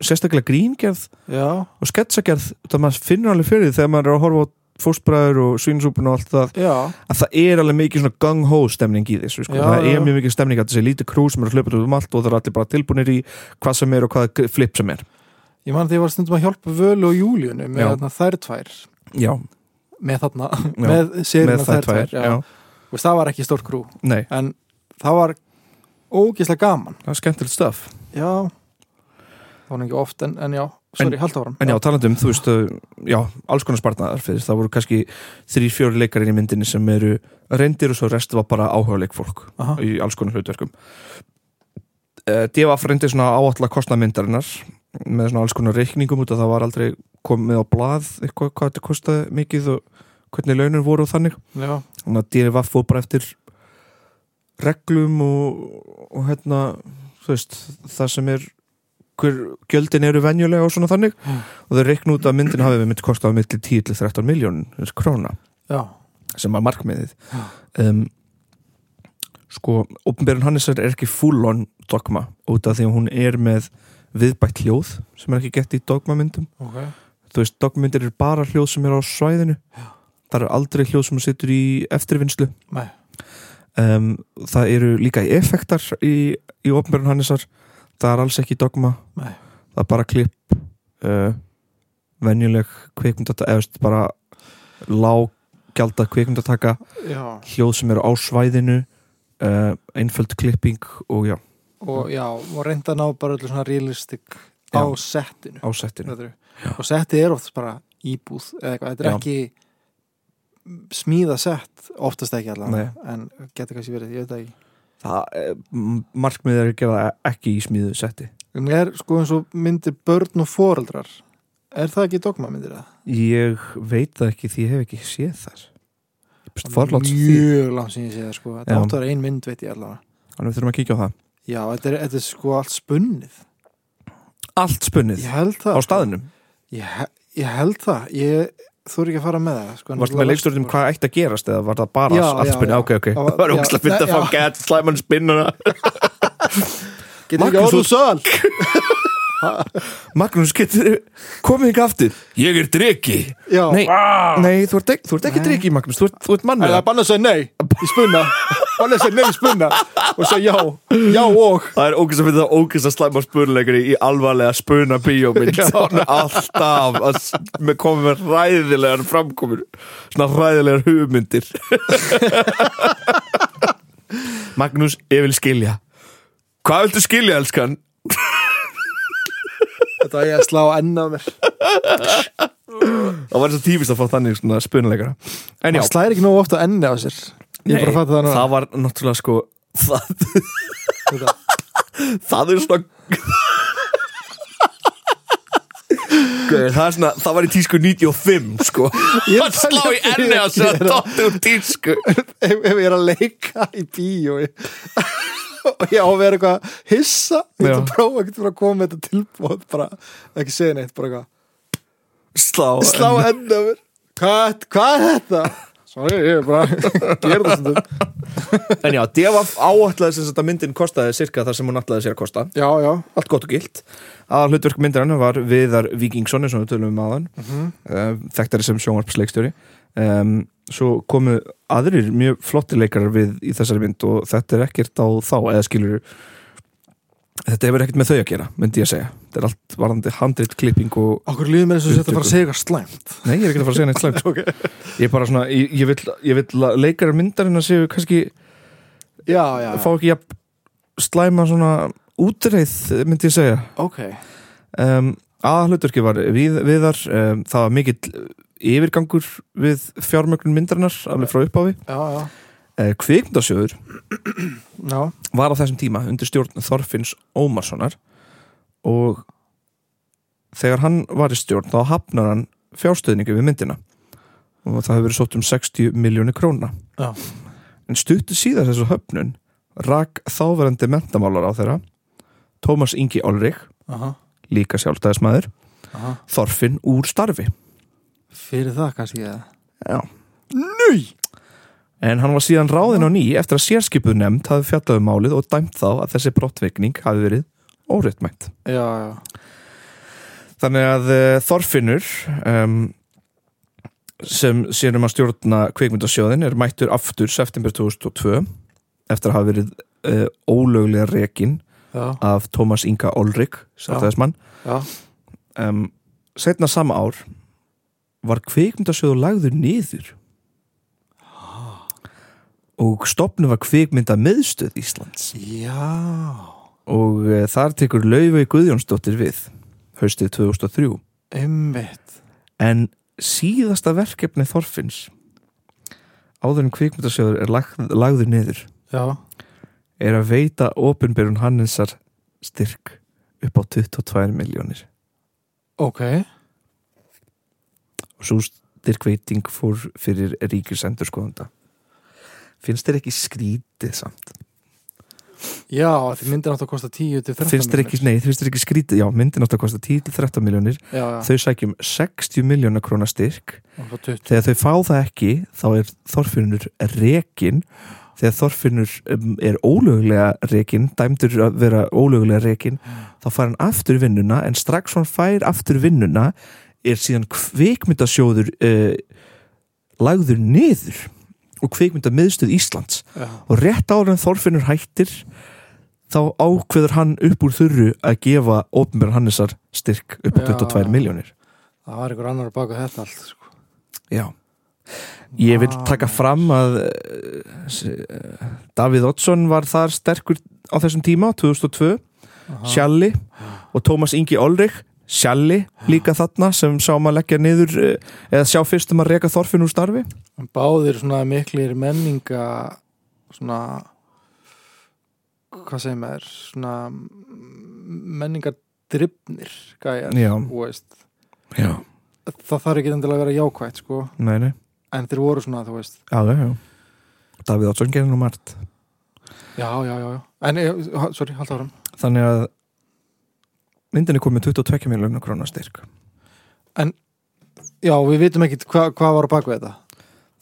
Speaker 2: sérstaklega gríngerð
Speaker 4: Já,
Speaker 2: og sketsagerð það maður finnur alveg fyrir því þegar maður er að horfa á fóstbræður og svínsúpun og allt það
Speaker 4: já,
Speaker 2: að það er alveg mikið svona gung-ho stemning í þessu sko.
Speaker 4: Já,
Speaker 2: það
Speaker 4: já.
Speaker 2: er mjög mikið stemning að þessi lítið krú sem er að hlaupa út um allt og það er allir bara tilbúinir í hvað sem er og hvað flip sem er
Speaker 4: ég man að ég var stundum að hjálpa Völu og Júlíunu með
Speaker 2: Já.
Speaker 4: þarna þær tvær
Speaker 2: já,
Speaker 4: með þarna,
Speaker 2: Já,
Speaker 4: <laughs> með
Speaker 2: með
Speaker 4: sérina
Speaker 2: það tvær já.
Speaker 4: Þú veist, það var ekki stórt krú
Speaker 2: nei,
Speaker 4: en það var ógeðslega gaman
Speaker 2: það er skemmtilegt stöf
Speaker 4: já það var nú ekki oft en, en já, sorry, halda áram
Speaker 2: En já, talandi um, þú veist, uh, já, alls konar spartnaðar fyrir það voru kannski þrý, fjóri leikarinn í myndinni sem eru reyndir og svo rest var bara áhuguleik fólk
Speaker 4: Aha.
Speaker 2: í alls konar hlutverkum. Uh, Devaf reyndi svona áallega kostna myndarinnar með svona alls konar reikningum út að það var aldrei komið á blað eitthvað hvað þetta kostaði mikið og hvernig launur voru og þannig.
Speaker 4: já,
Speaker 2: Þannig að Devaf fór bara eftir reglum og, og hérna, þú veist, það sem er hver gjöldin eru venjulega og svona þannig og þau reikna út að myndin hafi við myndi kostað milli 10 til 13 miljón króna
Speaker 4: já,
Speaker 2: sem var markmiðið
Speaker 4: Já.
Speaker 2: um, sko, Opinberun Hannesar er ekki full on dogma út af því að hún er með viðbætt hljóð sem er ekki gett í dogmamyndum
Speaker 4: ok
Speaker 2: þú veist, dogmamyndir eru bara hljóð sem er á svæðinu
Speaker 4: Já.
Speaker 2: það eru aldrei hljóð sem situr í eftirvinnslu
Speaker 4: Nei.
Speaker 2: um, það eru líka effektar í, í Opinberun Hannesar það er alls ekki dogma
Speaker 4: Nei.
Speaker 2: það er bara klipp uh, venjuleg kvikmyndata eða veist, bara lággjaldað kvikmyndataka
Speaker 4: já,
Speaker 2: hljóð sem eru á svæðinu uh, einföld klipping og já,
Speaker 4: og já, og reynda að ná bara öllu svona realistik
Speaker 2: Já.
Speaker 4: á settinu
Speaker 2: á settinu
Speaker 4: Þetta er- og settið er oft bara íbúð eða eitthvað, þetta er
Speaker 2: Já.
Speaker 4: ekki smíða sett, oftast ekki allavega
Speaker 2: Nei.
Speaker 4: en getur kannski verið, ég veit það ekki
Speaker 2: það, eh, m- markmiðið er að gera það ekki í smíðu setti
Speaker 4: en er sko eins og myndir börn og foreldrar er það ekki dogma myndir það?
Speaker 2: ég veit það ekki því ég hef ekki séð þar ég best forlátt því
Speaker 4: mjög langt sem ég sé það sko þetta
Speaker 2: Já.
Speaker 4: átt að vera ein mynd veit ég allavega
Speaker 2: þannig við þurfum að kíkja á það
Speaker 4: Já, þetta er, þetta er sko allt spunnið
Speaker 2: allt spunnið
Speaker 4: Ég held það
Speaker 2: á staðinum
Speaker 4: Ég, he- ég held það, ég þú ekki að fara með það sko, en
Speaker 2: varstu með leikstjórnum hvað ætti að gerast eða var það bara
Speaker 4: Já, já,
Speaker 2: allt spunnið
Speaker 4: já.
Speaker 2: ok ok,
Speaker 4: Það var-
Speaker 2: það
Speaker 4: já,
Speaker 2: var ógæslega fyrir að
Speaker 4: nei,
Speaker 2: fá gett slæman spinnuna
Speaker 4: Getur ekki
Speaker 2: Magnús,
Speaker 4: orðið söl
Speaker 2: Magnús, getur komið ekki aftur Ég er dregi
Speaker 4: Já,
Speaker 2: Nei, nei þú, ert ekki, þú ert ekki
Speaker 4: Nei.
Speaker 2: dregi, Magnús, þú ert, þú
Speaker 4: er
Speaker 2: ert mannur
Speaker 4: það banna að segja nei Í spunna
Speaker 1: Palli segir nefn spurna og segir já, já og
Speaker 2: Það er ógæst að finna það ógæst að slæma spurleikari í alvarlega spuna bíómynd Svona alltaf að s- með komið með ræðilegar framkomur svona ræðilegar hugmyndir <laughs> Magnús, ég vil skilja Hvað viltu skilja, elskan?
Speaker 4: Þetta er ég að slá enna á mér
Speaker 2: Það var svo tífist að fá þannig svona spunleikara En já,
Speaker 4: Það slæðir ekki nógu ofta enni á sér Ég er bara að fatta það nú
Speaker 2: það var náttúrulega sko það,
Speaker 4: Þetta-
Speaker 2: það er svona Guð, það, er svona, það var í tísku 95 <laughs> sko Það
Speaker 4: pæli
Speaker 2: slá í
Speaker 4: ekki
Speaker 2: enni á sig að
Speaker 4: gera.
Speaker 2: dotta úr tísku
Speaker 4: ef, ef ég er að leika í bíó <laughs> ég- og ég á að vera eitthvað að hissa, ég ætla
Speaker 2: Já.
Speaker 4: að prófa ekkert fyrir að koma með þetta tilbúð, bara ekki segja neitt, bara eitthvað
Speaker 2: Slá,
Speaker 4: slá henni af mér hvað, hvað er þetta? Sorry, ég er bara <laughs> gerði það stundum
Speaker 2: En já, Devaf áætlaði sem þetta myndin kostaði cirka þar sem hún ætlaði sér að kosta
Speaker 4: Já, já,
Speaker 2: allt gott og gilt að hlutverk myndirinn var Viðar Víkingsson eins og við tölum um aðan mm
Speaker 4: Mhm.
Speaker 2: þekktari sem sjónvarpsleikstjóri um, svo komu aðrir mjög flotti leikarar við í þessari mynd og þetta er ekkert á þá eða skilur þetta hefur ekkert með þau að gera myndi ég að segja, þetta er allt varðandi handrit, klipping og
Speaker 4: okkur líður mér eins og þetta fara að segja eitthvað slæmt
Speaker 2: nei, ég er ekki að fara að segja neitt slæmt okay. ég er bara svona, ég, ég vil, ég vil að leikarar myndarinn að séu kannski
Speaker 4: Já, já,
Speaker 2: fá ekki jafn slæma svona útreið myndi ég segja
Speaker 4: ok
Speaker 2: um, aðhluturki var við, viðar um, það var mikill yfirgangur við fjármögnun myndarinnar alveg frá uppáfi
Speaker 4: Já, já,
Speaker 2: uh, kvikmyndasjóður
Speaker 4: já,
Speaker 2: var á þessum tíma undir stjórn Þorfinns Ómarssonar og þegar hann var í stjórn þá hafnar hann fjárstöðningu við myndina og það hefur verið sótt um 60 miljónir króna
Speaker 4: Já.
Speaker 2: en stuttu síðar þessu höfnun rak þáverandi mentamálar á þeirra Tómas Ingi Olrik,
Speaker 4: aha,
Speaker 2: líka sjálfstæðismæður
Speaker 4: aha
Speaker 2: Þorfinn úr starfi
Speaker 4: Fyrir það kannski ég
Speaker 2: Já. Nei! En hann var síðan ráðinn á ný eftir að sérskipuð nefnd hafi fjallað um málið og dæmt þá að þessi brottveikning hafi verið óréttmætt.
Speaker 4: Já, já,
Speaker 2: Þannig að uh, Þorfinnur um, sem sér um að stjórna kveikmyndasjóðin er mættur aftur september 2002 eftir að hafa verið uh, ólöglega rekin
Speaker 4: já,
Speaker 2: af Tómas Inga Olrik, sérstæðismann.
Speaker 4: já
Speaker 2: Um, setna sama ár var kveikmyndasjóðu lagður niður og stopnum var kvikmynda miðstöð Íslands
Speaker 4: Já,
Speaker 2: og eh, þar tekur Laufey Guðjónsdóttir við haustið 2003
Speaker 4: einmitt
Speaker 2: en síðasta verkefni Þorfinns áður en kvikmyndasjóður er lag, lagður niður
Speaker 4: Já,
Speaker 2: er að veita opinberun Hannesar styrk upp á 22 miljónir
Speaker 4: ok
Speaker 2: og svo styrkveiting fór fyrir ríkisendur skoðanda finnst þér ekki skrítið samt?
Speaker 4: Já, því myndir átt að kosta 10 til 13
Speaker 2: finnst þér ekki, nei, finnst þér ekki skrítið já, myndin átt að kosta 10-13 miljónir
Speaker 4: Já, já,
Speaker 2: þau sækjum 60 miljónar krónar styrk
Speaker 4: og svo 20
Speaker 2: þegar þau fá það ekki þá er Þorfinnur rekin þegar Þorfinnur um, er ólögulega rekin dæmdur að vera ólögulega rekin þá fær hann aftur vinnuna en strax hann fær aftur vinnuna er síðan kvikmyndasjóður uh, lagður niður og kvikmynda miðstöð Íslands
Speaker 4: Já,
Speaker 2: og rétt ára en Þorfinnur hættir þá ákveður hann upp úr þurru að gefa ofnbjörn Hannesar styrk upp á
Speaker 4: Já.
Speaker 2: 22 miljónir
Speaker 4: það var einhver annar að baka þetta allt sko.
Speaker 2: Já Ég vil
Speaker 4: Vá,
Speaker 2: taka
Speaker 4: maður.
Speaker 2: fram að uh, s- uh, Davíð Oddsson var þar sterkur á þessum tíma 2002,
Speaker 4: Aha.
Speaker 2: Sjalli og Tómas Ingi Olrik Sjalli líka þarna sem sáum að leggja niður uh, eða sjá fyrst um að reka þorfinn úr starfi
Speaker 4: En Báðir svona miklir menninga svona hvað segir maður svona menningardrifnir gæjar
Speaker 2: Já.
Speaker 4: þú veist.
Speaker 2: Já,
Speaker 4: það þarf ekki endilega að vera jákvætt sko.
Speaker 2: nei, nei,
Speaker 4: en þeir voru svona þú veist
Speaker 2: já, já, já. Davíð Oddsson gerir nú margt
Speaker 4: já, já, já, já. en, eh, ha- sorry, halda áram
Speaker 2: Þannig að myndin er komið 22 miljonar krónar styrk
Speaker 4: já, við vitum ekki hva, hvað var á bakvið þetta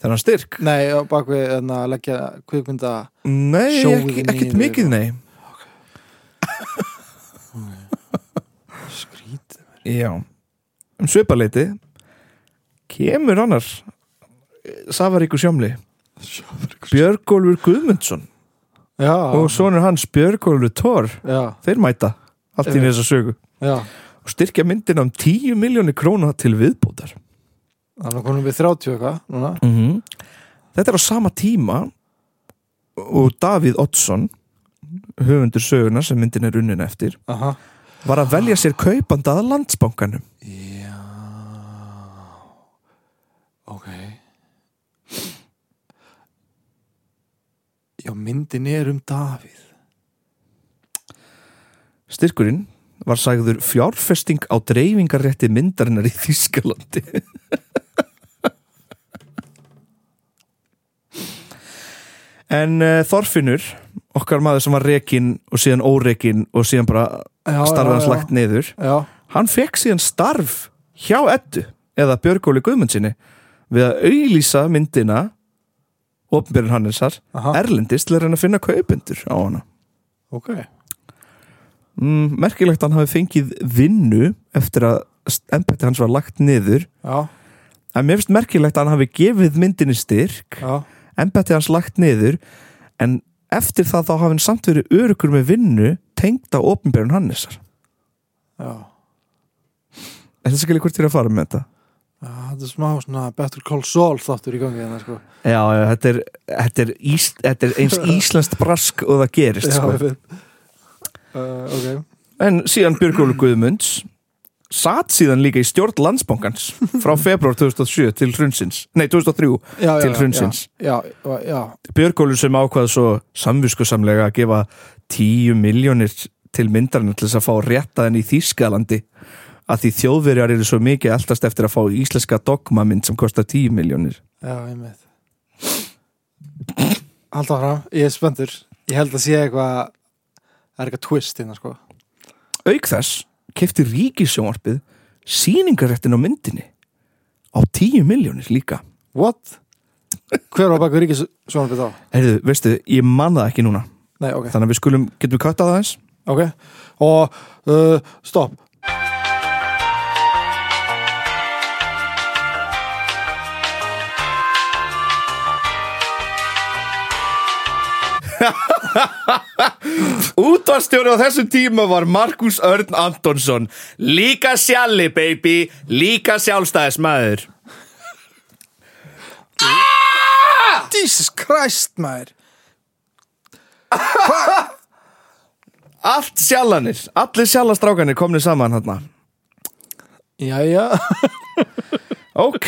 Speaker 2: Þennan styrk?
Speaker 4: nei, á bakvið en að leggja kvikmynda
Speaker 2: Nei,
Speaker 4: Sjóðið
Speaker 2: ekki, ekkert
Speaker 4: niður
Speaker 2: mikið,
Speaker 4: og-
Speaker 2: nei
Speaker 4: skrít
Speaker 2: Já, um svipaleiti kemur annar Savaríku sjómli Björgólfur Guðmundsson
Speaker 4: já,
Speaker 2: og sonur hans Björgólfur Thor
Speaker 4: já,
Speaker 2: þeir mæta allt inn í þessa sögu
Speaker 4: já
Speaker 2: og styrkja myndina um 10 miljónir króna til viðbótar
Speaker 4: þannig að konum við 30 eitthvað núna
Speaker 2: Þetta er á sama tíma og Davíð Oddsson höfundur söguna sem myndin er unnin eftir
Speaker 4: Aha.
Speaker 2: var að velja sér kaupanda að landsbankanum
Speaker 4: já ok já, myndin er um Davíð
Speaker 2: Styrkurinn var sagður fjárfesting á dreifingarrétti myndarinnar í Þýskalandi En uh, Þorfinnur, okkar maður sem var rekin og síðan órekin og síðan bara
Speaker 4: já,
Speaker 2: starfið hans
Speaker 4: já,
Speaker 2: lagt niður
Speaker 4: já,
Speaker 2: hann fekk síðan starf hjá Eddu eða Björgóli Guðmundsinni við að auðlýsa myndina ofnbjörn Hannesar
Speaker 4: aha,
Speaker 2: erlendist til að reyna að finna kaupendur á hana
Speaker 4: ok
Speaker 2: mm, merkilegt að hann hafi fengið vinnu eftir að embætti hans var lagt niður
Speaker 4: já,
Speaker 2: en mér finnst merkilegt að hann hafi gefið myndinni styrk
Speaker 4: já,
Speaker 2: embætti hans lagt niður en eftir það þá hafi hann samt verið örugur með vinnu tengd á ofnbjörn Hannesar
Speaker 4: já
Speaker 2: er þetta skilja hvort þér að fara með þetta?
Speaker 4: Já, þetta er smá svona Better Call Saul þáttur í gangi þannig sko.
Speaker 2: Já, já, þetta er, þetta er, ís, þetta er <laughs> eins íslenskt brask og það gerist
Speaker 4: Já,
Speaker 2: sko.
Speaker 4: ég veit. uh, Ok
Speaker 2: En síðan Björgólu Guðmunds satt síðan líka í stjórn landsbankans <laughs> frá februar 2007 til hrunsins Nei, 2003
Speaker 4: já, já,
Speaker 2: til
Speaker 4: já,
Speaker 2: hrunsins
Speaker 4: Já, já, já,
Speaker 2: Björgólu sem ákvað svo samviskusamlega að gefa 10 miljónir til myndarinn til þess að fá réttaðin í Þýskalandi að því þjóðverjar eru svo mikið eldast eftir að fá íslenska dogmamynd sem kostar 10 miljónir
Speaker 4: já, ég veit Hald áfram, ég er spöndur Ég held að sé eitthvað Það er eitthvað twist hérna sko
Speaker 2: Auk þess kefti ríkisjónvarpið síningarættin á myndinni á 10 miljónir líka.
Speaker 4: What? Hver var bakur ríkis svona byrð á?
Speaker 2: Heyrðu, veistu, ég man það ekki núna.
Speaker 4: Nei, ok,
Speaker 2: Þannig að við skulum, getum við kattað aðeins?
Speaker 4: ok Og, uh, stopp
Speaker 2: Útvarstjóri á þessum tíma var Markus Örn Antonsson. Líka sjalli, baby. Líka sjálfstæðismæður.
Speaker 4: Jesus Christ, maður
Speaker 2: Allt sjallanir, allir sjallastrákanir komni saman hann.
Speaker 4: Jæja
Speaker 2: Ok,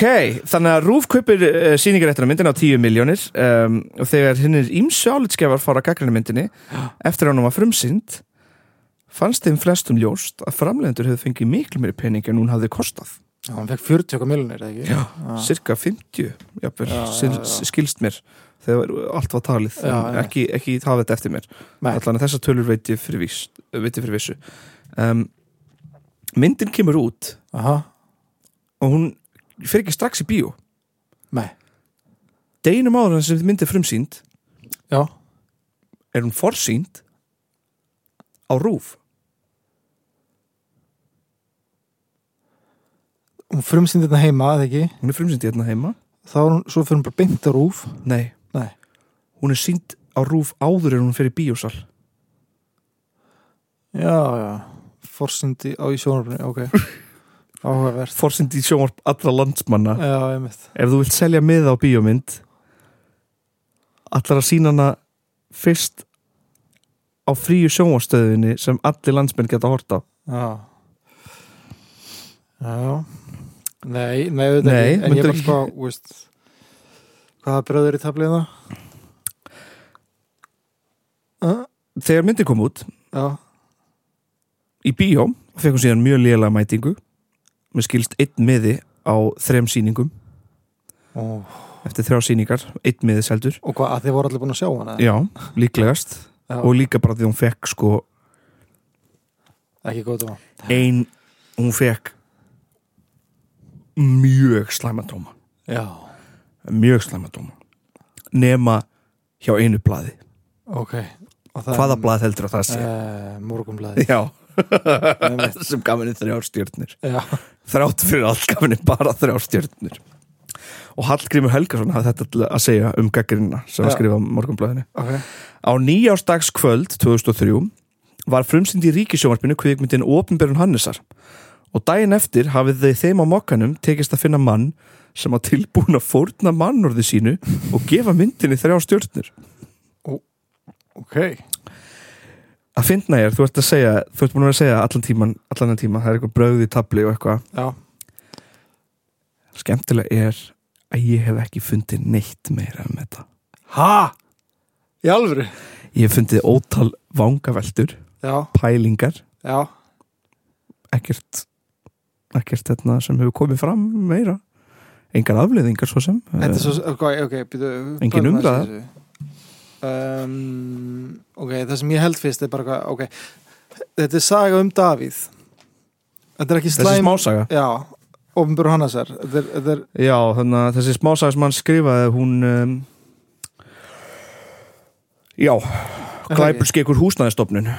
Speaker 2: þannig að Rúf kaupir uh, síningaréttina myndin á 10 miljónir um, og þegar hinnir ímsu álitskefar fara gaggrinu myndinni eftir að hún var frumsynd fannst þeim flestum ljóst að framlegendur hefðu fengið miklu meiri pening en hún hafði kostað
Speaker 4: Já, hann fekk 40 okkar miljonir, ekki?
Speaker 2: Já, cirka 50 jafnvel,
Speaker 4: Já, já,
Speaker 2: sil-
Speaker 4: já.
Speaker 2: skilst mér þegar allt var talið
Speaker 4: Já,
Speaker 2: en
Speaker 4: já.
Speaker 2: ekki, ekki hafa þetta eftir mér
Speaker 4: Nei.
Speaker 2: allan að þessa tölur veit ég fyrir, vís, veit ég fyrir vissu um, myndin kemur út
Speaker 4: Aha,
Speaker 2: og hún fer ekki strax í bíó
Speaker 4: nei,
Speaker 2: deginum áður en sem myndi frumsýnd
Speaker 4: já
Speaker 2: er hún forsýnd á rúf
Speaker 4: hún frumsýndi þetta heima, eða ekki
Speaker 2: hún er frumsýnd hérna heima
Speaker 4: þá er hún, svo fyrir hún bara beint á rúf
Speaker 2: nei,
Speaker 4: nei,
Speaker 2: hún er sínd á rúf áður en hún fer í bíósal
Speaker 4: já, já forsýndi á í sjónarbrunni, ok áhugavert,
Speaker 2: forsýnd í sjónvarp allra landsmanna
Speaker 4: já, ég mitt
Speaker 2: ef þú vilt selja miða á bíómynd allar að sína hana fyrst á fríu sjónvarstöðinni sem allir landsmenn geta hort á
Speaker 4: já já nei, nei, auðvitað
Speaker 2: Nei,
Speaker 4: ekki en ég
Speaker 2: myndir
Speaker 4: var
Speaker 2: ekki-
Speaker 4: sko, þú veist hvaða bröður í tabliðina uh,
Speaker 2: þegar myndin kom út
Speaker 4: já,
Speaker 2: í bíó fekk hún síðan mjög lélega mætingu með skilst einn miði á þrem sýningum
Speaker 4: Ó,
Speaker 2: eftir þrjá sýningar, einn miði seldur
Speaker 4: og hvað, að þið voru allir búin að sjá hana
Speaker 2: já, líklegast
Speaker 4: Já.
Speaker 2: og líka bara því hún fekk sko
Speaker 4: ekki góð dóma
Speaker 2: ein, hún fekk mjög slæma dóma
Speaker 4: já,
Speaker 2: mjög slæma dóma nema hjá einu blaði
Speaker 4: ok Og það-
Speaker 2: hvaða blað heldur að það sé
Speaker 4: Eh, morgunblæði
Speaker 2: já, <laughs>
Speaker 4: Einmitt.
Speaker 2: sem gaf henni þrjár stjörnir
Speaker 4: Já,
Speaker 2: þrátt fyrir allt gaf henni bara þrjár stjörnir og Hallgrímur Helgason hafði þetta til að segja um gaggrinna sem var
Speaker 4: Já.
Speaker 2: skrifað á morgunblæðinu
Speaker 4: ok,
Speaker 2: Á nýjástagskvöld 2003 var frumsýnd í ríkisjómarpinu kvikmyndin Opinberun Hannesar og daginn eftir hafið þau þeim á mokkanum tekist að finna mann sem á tilbúin að fórna mannorði sínu og gefa myndinni þrjá stjórnir <laughs>
Speaker 1: Ok
Speaker 2: að finna ég, þú ert að segja þú ert búin að vera að segja allan tíman, allan þennan tíma það er eitthvað bröð í tabli og eitthvað
Speaker 4: já
Speaker 2: skemmtilega er að ég hef ekki fundið neitt meira um þetta
Speaker 4: ha, í alvöru
Speaker 2: ég hef fundið ótal vangaveltur
Speaker 4: já,
Speaker 2: pælingar,
Speaker 4: já,
Speaker 2: ekkert ekkert þetta sem hefur komið fram meira engar afleiðingar svo sem Eh,
Speaker 4: þetta er svo ok, ok, býtu
Speaker 2: Engin
Speaker 4: börnum
Speaker 2: umræða.
Speaker 4: aðeins í þessu. um, ok, það sem ég held fyrst er bara hvað, ok þetta er saga um Davíð þetta er ekki
Speaker 2: þessi
Speaker 4: slæm
Speaker 2: smásaga
Speaker 4: já, ofinbjörn Hannesar þetta er, þetta er,
Speaker 2: já, þannig að þessi smásaga sem hann skrifaði hún um, já, glæpur skekur húsnæðistofnun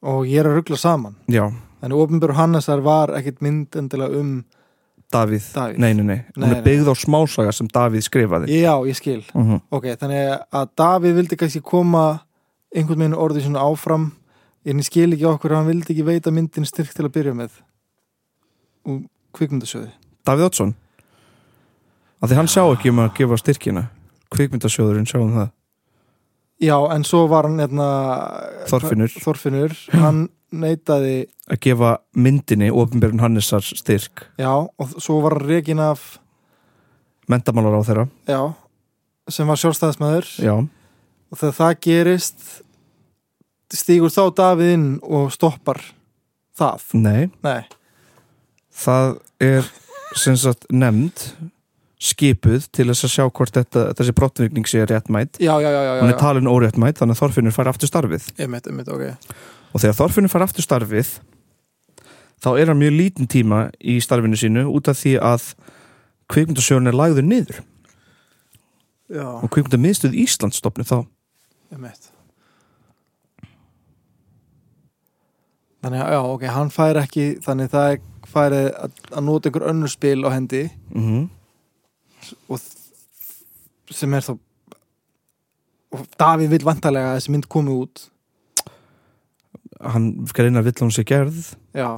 Speaker 4: og ég er að ruggla saman
Speaker 2: já,
Speaker 4: þannig ofinbjörn Hannesar var ekkit mynd endilega um
Speaker 2: Davíð
Speaker 4: Davíð.
Speaker 2: Nei, nei, nei, hún
Speaker 4: Nei,
Speaker 2: er
Speaker 4: nei.
Speaker 2: byggð á smásaga sem Davíð skrifaði
Speaker 4: já, ég skil
Speaker 2: mm
Speaker 4: Ok, þannig að Davíð vildi kannski koma einhvern veginn orðið svona áfram en ég skil ekki okkur að hann vildi ekki veita myndin styrk til að byrja með og kvikmyndasöði
Speaker 2: Davíð Oddsson að því hann sjá ekki um að gefa styrkina kvikmyndasjóðurinn sjá um það
Speaker 4: Já, en svo var hann hérna,
Speaker 2: Þorfinnur.
Speaker 4: Þorfinnur, hann neitaði
Speaker 2: að gefa myndinni ofinbjörn Hannesar styrk
Speaker 4: já, og svo var hann rekin af
Speaker 2: mentamálar á þeirra
Speaker 4: já, sem var sjálfstæðismæður
Speaker 2: já,
Speaker 4: og þegar það gerist stígur þá Davíð inn og stoppar það
Speaker 2: nei,
Speaker 4: Nei,
Speaker 2: það er sem sagt nefnd skipuð til þess að sjá hvort þetta, þessi brottvirkning sé réttmætt
Speaker 4: já, já, já, já, já,
Speaker 2: hún er
Speaker 4: já.
Speaker 2: talin óréttmætt þannig að Þorfinnur fær aftur starfið
Speaker 4: Einmitt, einmitt, ok
Speaker 2: og þegar Þorfinnur fær aftur starfið þá er hann mjög lítinn tíma í starfinu sínu út af því að kvikmyndasjóðun er lagður niður
Speaker 4: Já,
Speaker 2: og kvikmyndamiðstöð Íslands stopnu þá
Speaker 4: Emmett Þannig að, já, ok, hann fær ekki þannig það er færið að, að nota einhver önnur spil á hendi
Speaker 2: mm -hmm.
Speaker 4: Mhm. og þ- sem er þá og Davíð vil vantarlega að þessi mynd komi út
Speaker 2: hann greina vill að hún sé gerð
Speaker 4: já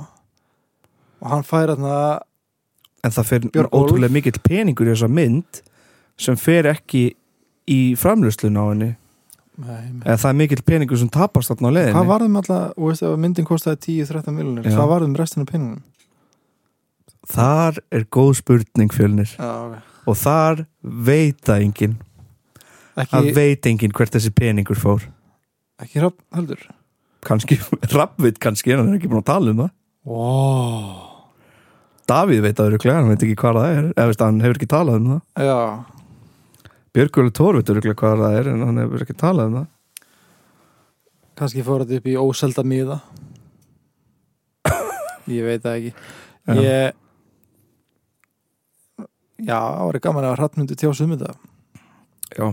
Speaker 4: og hann fær þarna
Speaker 2: en það fer
Speaker 4: Björn Ólf.
Speaker 2: ótrúlega mikill peningur í þessa mynd sem fer ekki í framlöslun á henni
Speaker 4: nei,
Speaker 2: eða það er mikill peningur sem tapast þarna á leiðinni
Speaker 4: hvað varðum alltaf, og veist ef að myndin kostaði 10-13 miljonir,
Speaker 2: Já.
Speaker 4: hvað um varðum restinu penunum
Speaker 2: þar er góð spurning fjölnir
Speaker 4: já, ok
Speaker 2: og þar veit það enginn það
Speaker 4: ekki,
Speaker 2: veit enginn hvert þessi peningur fór
Speaker 4: ekki rafn heldur
Speaker 2: kannski, <laughs> Rappveit kannski en hann er ekki búin að tala um það
Speaker 4: wow.
Speaker 2: Davíð veit það öruglega, hann veit ekki hvað það er eða veist, hann hefur ekki talað um það
Speaker 4: já,
Speaker 2: Björgjóli Tór veit öruglega hvað það er en hann hefur ekki talað um það
Speaker 4: Kanski fór þetta upp í óselda miða Ég veit það
Speaker 2: Já.
Speaker 4: ekki Ég Já, það var gaman að hrattmyndu tjásu um þetta
Speaker 2: Já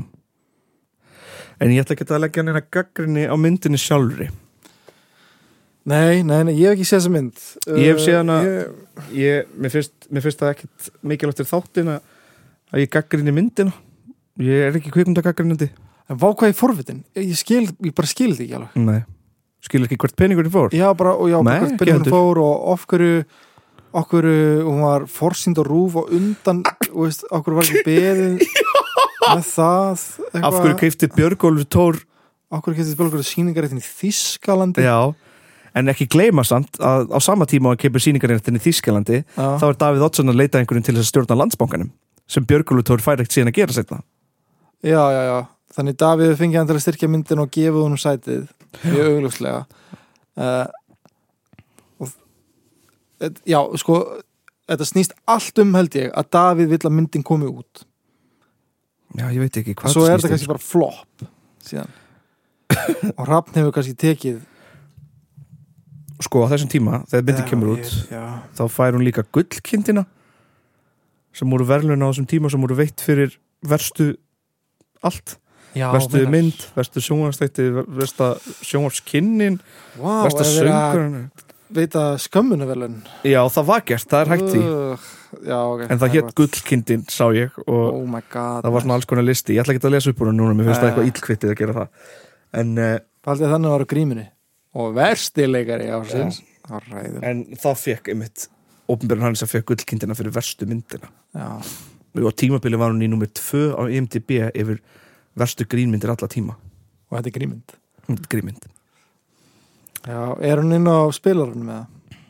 Speaker 2: En ég ætla ekki að leggja neina gaggrinni á myndinni sjálfri
Speaker 4: Nei, nei, nei, ég hef ekki séð þessa mynd Eh,
Speaker 2: Ég hef séð hana-
Speaker 4: ég,
Speaker 2: ég, mér, finnst, mér finnst það ekkit mikilvægt er þáttin að að ég gaggrinni myndina Ég er ekki kvikmyndagaggrinandi
Speaker 4: En vá hvað ég forvitin Ég, ég, skil, ég bara skil þetta ekki alveg
Speaker 2: Nei, skilur ekki hvert peningurinn fór
Speaker 4: Já, bara, og já,
Speaker 2: Nei,
Speaker 4: bara
Speaker 2: ekki
Speaker 4: hvert byrjum
Speaker 2: heldur.
Speaker 4: hún fór og of hverju okkur, hún var forsýnd og rúf og undan, þú veist, okkur var ekki
Speaker 2: <laughs>
Speaker 4: beðið með það eitthvað,
Speaker 2: Af hverju keifti Björgólfur Tór
Speaker 4: okkur getið bara okkur sýningaréttin í Þískalandi
Speaker 2: Já, en ekki gleyma samt að á sama tíma og hann keipur sýningarinn í Þískalandi
Speaker 4: Já.
Speaker 2: þá er Davíð Oddsson að leita einhverjum til þess að stjórna landsbankanum sem Björgólfur Tór fær ekkert síðan að gera setna
Speaker 4: Já, já, já. Þannig Davíð fengið hann til að styrkja myndin og gefið honum sætið. Mjög augljóslega. Uh, og, et, já, sko, þetta snýst allt um held ég að Davíð vill að myndin komi út.
Speaker 2: Já, ég veit ekki hvað
Speaker 4: Svo er
Speaker 2: snýst um.
Speaker 4: þetta kannski bara flop
Speaker 2: <coughs>
Speaker 4: síðan. og Rappn hefur kannski tekið...
Speaker 2: Sko á þessum tíma, þegar myndin
Speaker 4: Já,
Speaker 2: kemur
Speaker 4: ég-
Speaker 2: út
Speaker 4: Já,
Speaker 2: þá fær hún líka gullkindina sem voru verðlun á þessum tíma sem voru veitt fyrir verstu allt,
Speaker 4: já
Speaker 2: verstu
Speaker 4: meinar.
Speaker 2: mynd verstu sjónvarstætti, versta sjónvarskinnin
Speaker 4: Vá,
Speaker 2: versta
Speaker 4: er verið að
Speaker 2: söngurinn
Speaker 4: veita skömmunarvelun
Speaker 2: Já, það var gert, það er hægt í
Speaker 4: Já, ok
Speaker 2: En það hétt gullkindin, sá ég Og
Speaker 4: Oh my god
Speaker 2: það var svona alls konar listi Ég ætla ekki að lesa upp úr hann núna, mér finnst það
Speaker 4: Nei.
Speaker 2: eitthvað illkvittið að gera það En, eh,
Speaker 4: Haldið þannig að það var á gríminu Og verstileikari ársins Það var ræður
Speaker 2: en það fekk einmitt Ópenbjörn Hannes að fekk gullkindina fyrir verstu myndina
Speaker 4: Já,
Speaker 2: Og tímabili var hún í nummer 2 á IMDb Yfir verstu grínmyndir alla tíma
Speaker 4: og þetta er grímynd
Speaker 2: Grínmynd
Speaker 4: Já, er hún inn á spilarunum með það?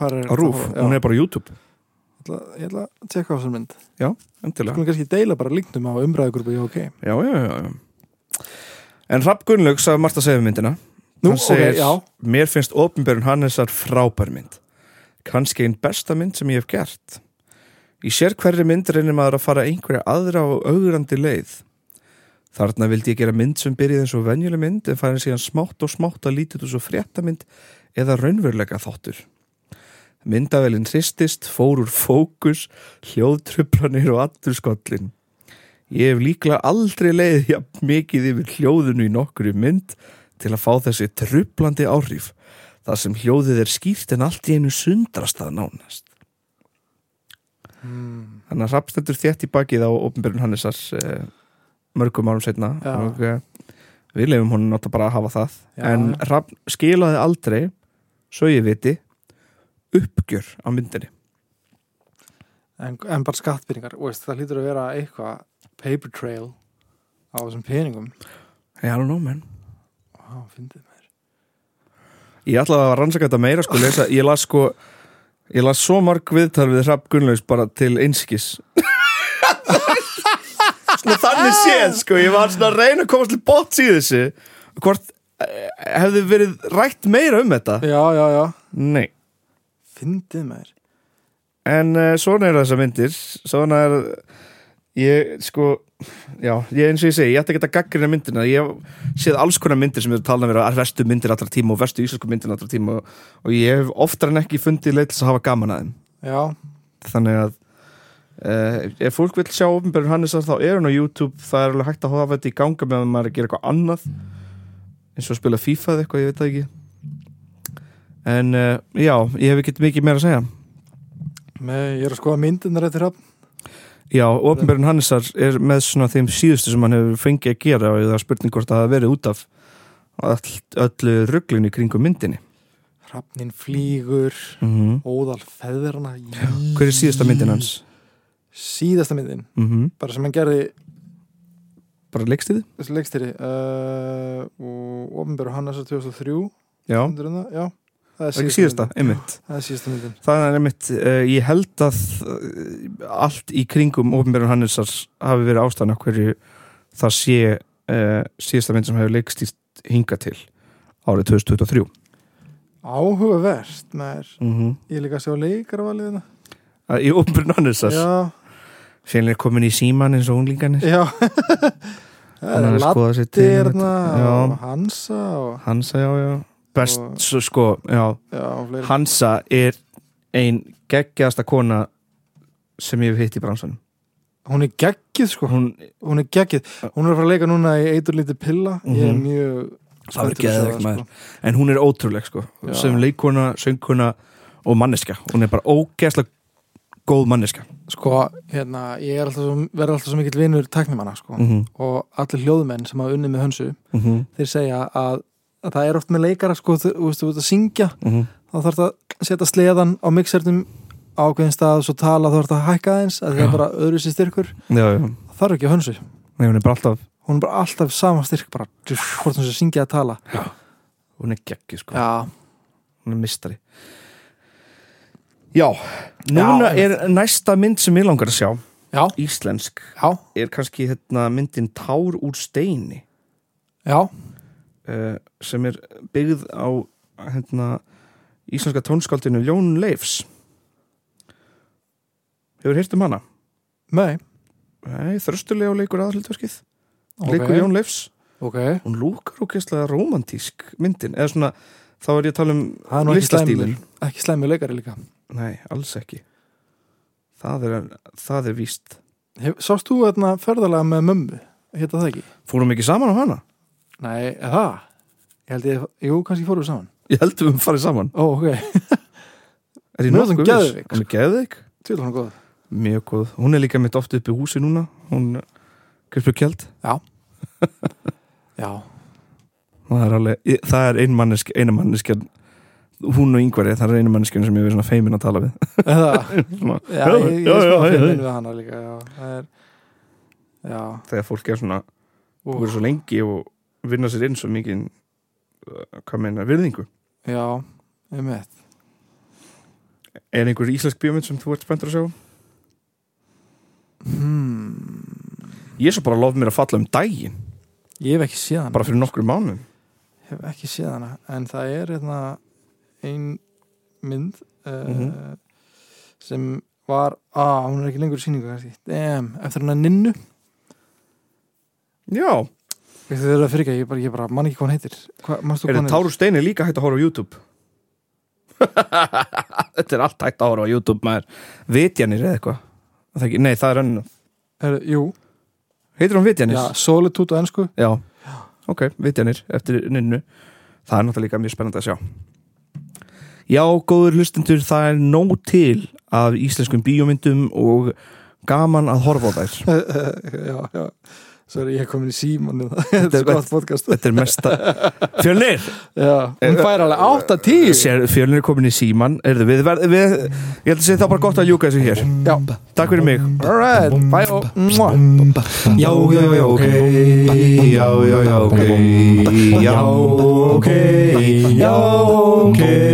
Speaker 4: Hvar er
Speaker 2: Á Rúf,
Speaker 4: Já,
Speaker 2: hún er bara á YouTube
Speaker 4: ég ætla, ég ætla að tjekka á þessar mynd
Speaker 2: Endilega
Speaker 4: Skulum kannski deila bara linknum á umræðugrúpu í OK
Speaker 2: Sko- Já, já, já, já En Rapp Gunnlaugs hafði margt að segja um myndina
Speaker 4: Nú,
Speaker 2: Hann segir-
Speaker 4: ok, já
Speaker 2: Mér finnst Opinberun Hannesar frábær mynd kannski einn besta mynd sem ég hef gert Í sér hverri mynd reynir maður að fara einhverja aðra og augrandi leið Þarna vildi ég gera mynd sem byrjaði eins og venjuleg mynd en færi síðan smátt og smátt að lítið úr svo fréttamynd eða raunveruleika þáttur Myndavelin hristist, fór úr fókus hljóðtrublanir og allurskollin Ég hef líklega aldrei leið jafn mikið yfir hljóðinu í nokkru mynd til að fá þessi trublandi áhrif þar sem hljóðið er skýrt en allt í einu sundrast að nánast
Speaker 4: mm.
Speaker 2: þannig að Rappstendur þétt í bakið á ofnbjörn Hannesar eh, mörgum árum setna
Speaker 4: Já.
Speaker 2: og eh, við lefum honum náttúrulega bara að hafa það
Speaker 4: Já,
Speaker 2: en
Speaker 4: já.
Speaker 2: Rappn skilaði aldrei svo ég viti uppgjör á myndinni
Speaker 4: en, en bara skattbyrningar, þú veist, það hlýtur að vera eitthvað paper trail á þessum peningum
Speaker 2: I don't know man
Speaker 4: Vá, fyndið mér
Speaker 2: Ég ætlaði að rannsaka þetta meira sko lesa, ég las sko ég las svo marg viðtal við Rapp Gunnlaugs bara til einskis Svona þannig séð sko ég var svona að reyna að komast til botts í þessu hvort eh, hefði verið rætt meira um þetta
Speaker 4: Já, já, já,
Speaker 2: Nei
Speaker 4: fyndið mér
Speaker 2: En uh, svona eru þessar myndir Svona er Ég sko Já, ég eins og ég segi, ég ætti ekki að gaggrina myndina Ég hef séð alls konar myndir sem eru talað vera Verstu myndir allra tíma og verstu íslensku myndir allra tíma Og, og ég hef oftar en ekki fundið leið til þess að hafa gaman að þeim
Speaker 4: Já,
Speaker 2: Þannig að uh, Ef fólk vil sjá ofnbjörn Hannesar þá er hún á YouTube Það er alveg hægt að hafa þetta í ganga meðan maður er að gera eitthvað annað eins og að spila FIFA eða eitthvað, ég veit það ekki En uh, já, ég hef ekki mikið meira að segja
Speaker 4: með, ég er að skoða myndirnar eftir hafn
Speaker 2: Já, ofnbjörn Hannesar er með svona þeim síðustu sem hann hefur fengið að gera og það er spurning hvort það hafi verið út af öll, öllu ruglinu kringum myndinni
Speaker 4: Hrafnin flýgur,
Speaker 2: mm
Speaker 4: óðal feðrana
Speaker 2: Hver er síðasta myndin hans?
Speaker 4: Síðasta myndin,
Speaker 2: Mm
Speaker 4: bara sem hann gerði
Speaker 2: Bara leikstiði?
Speaker 4: þessi leikstýri uh, og ofinbjörn Hannesar 2003
Speaker 2: Já,
Speaker 4: myndir um það, já Það
Speaker 2: ekki síðasta, einmitt
Speaker 4: myndin. Það er síðasta myndin
Speaker 2: Það er einmitt, uh, ég held að uh, allt í kringum ofnbjörn Hannesar hafi verið ástæðan af hverju það sé uh, síðasta mynd sem hefur leikstýrt hinga til árið 2023
Speaker 4: Áhugavert, maður
Speaker 2: mm -hmm.
Speaker 4: Ég er líka að sjá leikarvaliðina
Speaker 2: Í ofnbjörn Hannesar
Speaker 4: Já,
Speaker 2: Sérlega komin í síman eins og unglingarnir
Speaker 4: já
Speaker 2: hann
Speaker 4: Það
Speaker 2: er
Speaker 4: er
Speaker 2: að skoða sér til
Speaker 4: Lattirna og
Speaker 2: já,
Speaker 4: Hansa og,
Speaker 2: Hansa, já, já best,
Speaker 4: Og-
Speaker 2: svo, sko, já,
Speaker 4: já, og fleiri
Speaker 2: Hansa er ein geggjasta kona sem ég hef hitt í bransanum
Speaker 4: Hún er geggið sko,
Speaker 2: hún,
Speaker 4: hún er geggið Hún er að fara að leika núna í eitur lítið pilla Ég er
Speaker 2: Mhm.
Speaker 4: mjög
Speaker 2: Það
Speaker 4: spenntur
Speaker 2: verður
Speaker 4: að sjá
Speaker 2: geðveikt, maður.
Speaker 4: sko.
Speaker 2: en hún er ótrúleg, sko
Speaker 4: Já.
Speaker 2: sem leikona, söngkona og manneskja hún er bara ógeðslega góð manneskja
Speaker 4: sko, hérna, ég er alltaf svo, verð alltaf svo mikill vinur tæknimanna sko
Speaker 2: mm -hmm.
Speaker 4: og allir hljóðmenn sem hafa unnið með hönsu
Speaker 2: Mhm,
Speaker 4: þeir segja að, að það er oft með leikara sko, þú þú veist, þú ert að syngja
Speaker 2: mhm,
Speaker 4: þá þarf það að setja sleðan á mixernum á ákveðin stað, svo tala þú ert að hækka aðeins að það
Speaker 2: Já.
Speaker 4: er bara öðru sér styrkur
Speaker 2: já, já,
Speaker 4: það þarf ekki á hönsu,
Speaker 2: Nei, hún er bara alltaf
Speaker 4: hún er bara alltaf sama styrk bara, hvort hún sé að syngja að tala
Speaker 2: hún er geggjuð, sko,
Speaker 4: já,
Speaker 2: hún er mistari já, núna
Speaker 4: einmitt.
Speaker 2: er næsta mynd sem ég langar að sjá
Speaker 4: já,
Speaker 2: íslensk
Speaker 4: já,
Speaker 2: er kannski hérna, myndin Tár úr steini
Speaker 4: já
Speaker 2: uh, sem er byggð á hérna, íslenska tónskáldinu Jón Leifs Hefur hýrt um hana?
Speaker 4: nei,
Speaker 2: Nei, þröstulega leikur aðhlutverkið
Speaker 4: ok,
Speaker 2: Leikur Jón Leifs
Speaker 4: ok
Speaker 2: Hún lúkar og kesslega romantísk myndin eða svona, þá er ég að tala
Speaker 4: það er
Speaker 2: um
Speaker 4: nú ekki
Speaker 2: listastílin
Speaker 4: slæmi, ekki slæmi leikari líka
Speaker 2: Nei, alls ekki Það er, það er víst
Speaker 4: Hef, sást þú þarna ferðalega með mömmu hitta það ekki?
Speaker 2: Fórum ekki saman á hana?
Speaker 4: nei, er það? ég held ég, jú, kannski fórum við saman
Speaker 2: Ég held við um farið saman
Speaker 4: Ó, ok,
Speaker 2: Er ég
Speaker 4: Mér finnst hún
Speaker 2: nokkuð viss?
Speaker 4: geðveik,
Speaker 2: Hún er geðveik
Speaker 4: til hann góð
Speaker 2: Mjög góð Hún er líka mitt oft upp í húsi núna Hún Krispjör Kjeld
Speaker 4: Já,
Speaker 2: Það er alveg ég- Það er ein mannesk Einu manneskjan Hún og yngvari Það er einu manneskjan sem ég verið svona feimin að tala við <laughs>
Speaker 4: það
Speaker 2: svona,
Speaker 4: <laughs> Já, ég, ég er
Speaker 2: já,
Speaker 4: smá
Speaker 2: já,
Speaker 4: fyrir
Speaker 2: já.
Speaker 4: minn við hana líka Já, það er Já,
Speaker 2: Þegar fólk er svona
Speaker 4: ú,
Speaker 2: Búið svo lengi og vinna sér inn svo mikið uh, Hvað meina Virðingu
Speaker 4: já, einmitt
Speaker 2: Er einhver íslensk bíómynd sem þú ert spenntur að sjá?
Speaker 4: hmm.
Speaker 2: Ég svo bara lof mér að falla um daginn
Speaker 4: Ég hef ekki séð hana
Speaker 2: Bara fyrir nokkru mánuðum
Speaker 4: hef ekki séð hana en það er hérna ein mynd uh,
Speaker 2: Mhm.
Speaker 4: sem var að hún er ekki lengur í sýningu kannski Damn, eftir hana Ninnu
Speaker 2: Já
Speaker 4: Veistu, þið eru að fyrirgefa, ég bara, ég bara man ekki hvað hann heitir Hva, manstu
Speaker 2: Er
Speaker 4: hvað hann
Speaker 2: þetta Táru Steini líka hægt að horfa á YouTube? <laughs> þetta er allt hægt að horfa á YouTube maður Vitjanir eða eitthvað Er það ekki- Nei, það er önnu
Speaker 4: heitir? Jú, <laughs>
Speaker 2: Heitir hún Vitjanir?
Speaker 4: já, Solitude á ennsku
Speaker 2: Já. Ok, Vitjanir eftir ninnu Það er náttúrulega líka mjög spennandi að sjá Já, góður hlustendur það er nóg til af íslenskum bíómyndum og gaman að horfa á þær
Speaker 4: Já, já Sorry, ég er komin í síman <laughs> Þetta er
Speaker 2: er
Speaker 4: gott podcast
Speaker 2: Þetta er mesta Fjölnir,
Speaker 4: Já, hún fær alveg 8-10
Speaker 2: sér, fjölnir er komin í síman Erðu, við, verð- við, ég held að segja það bara gott að ljúka þessu hér
Speaker 4: Já,
Speaker 2: Takk fyrir mig
Speaker 4: alright, bye og mwah.
Speaker 2: Já, já, já, ok Já, já, já, ok Já, ok Já, ok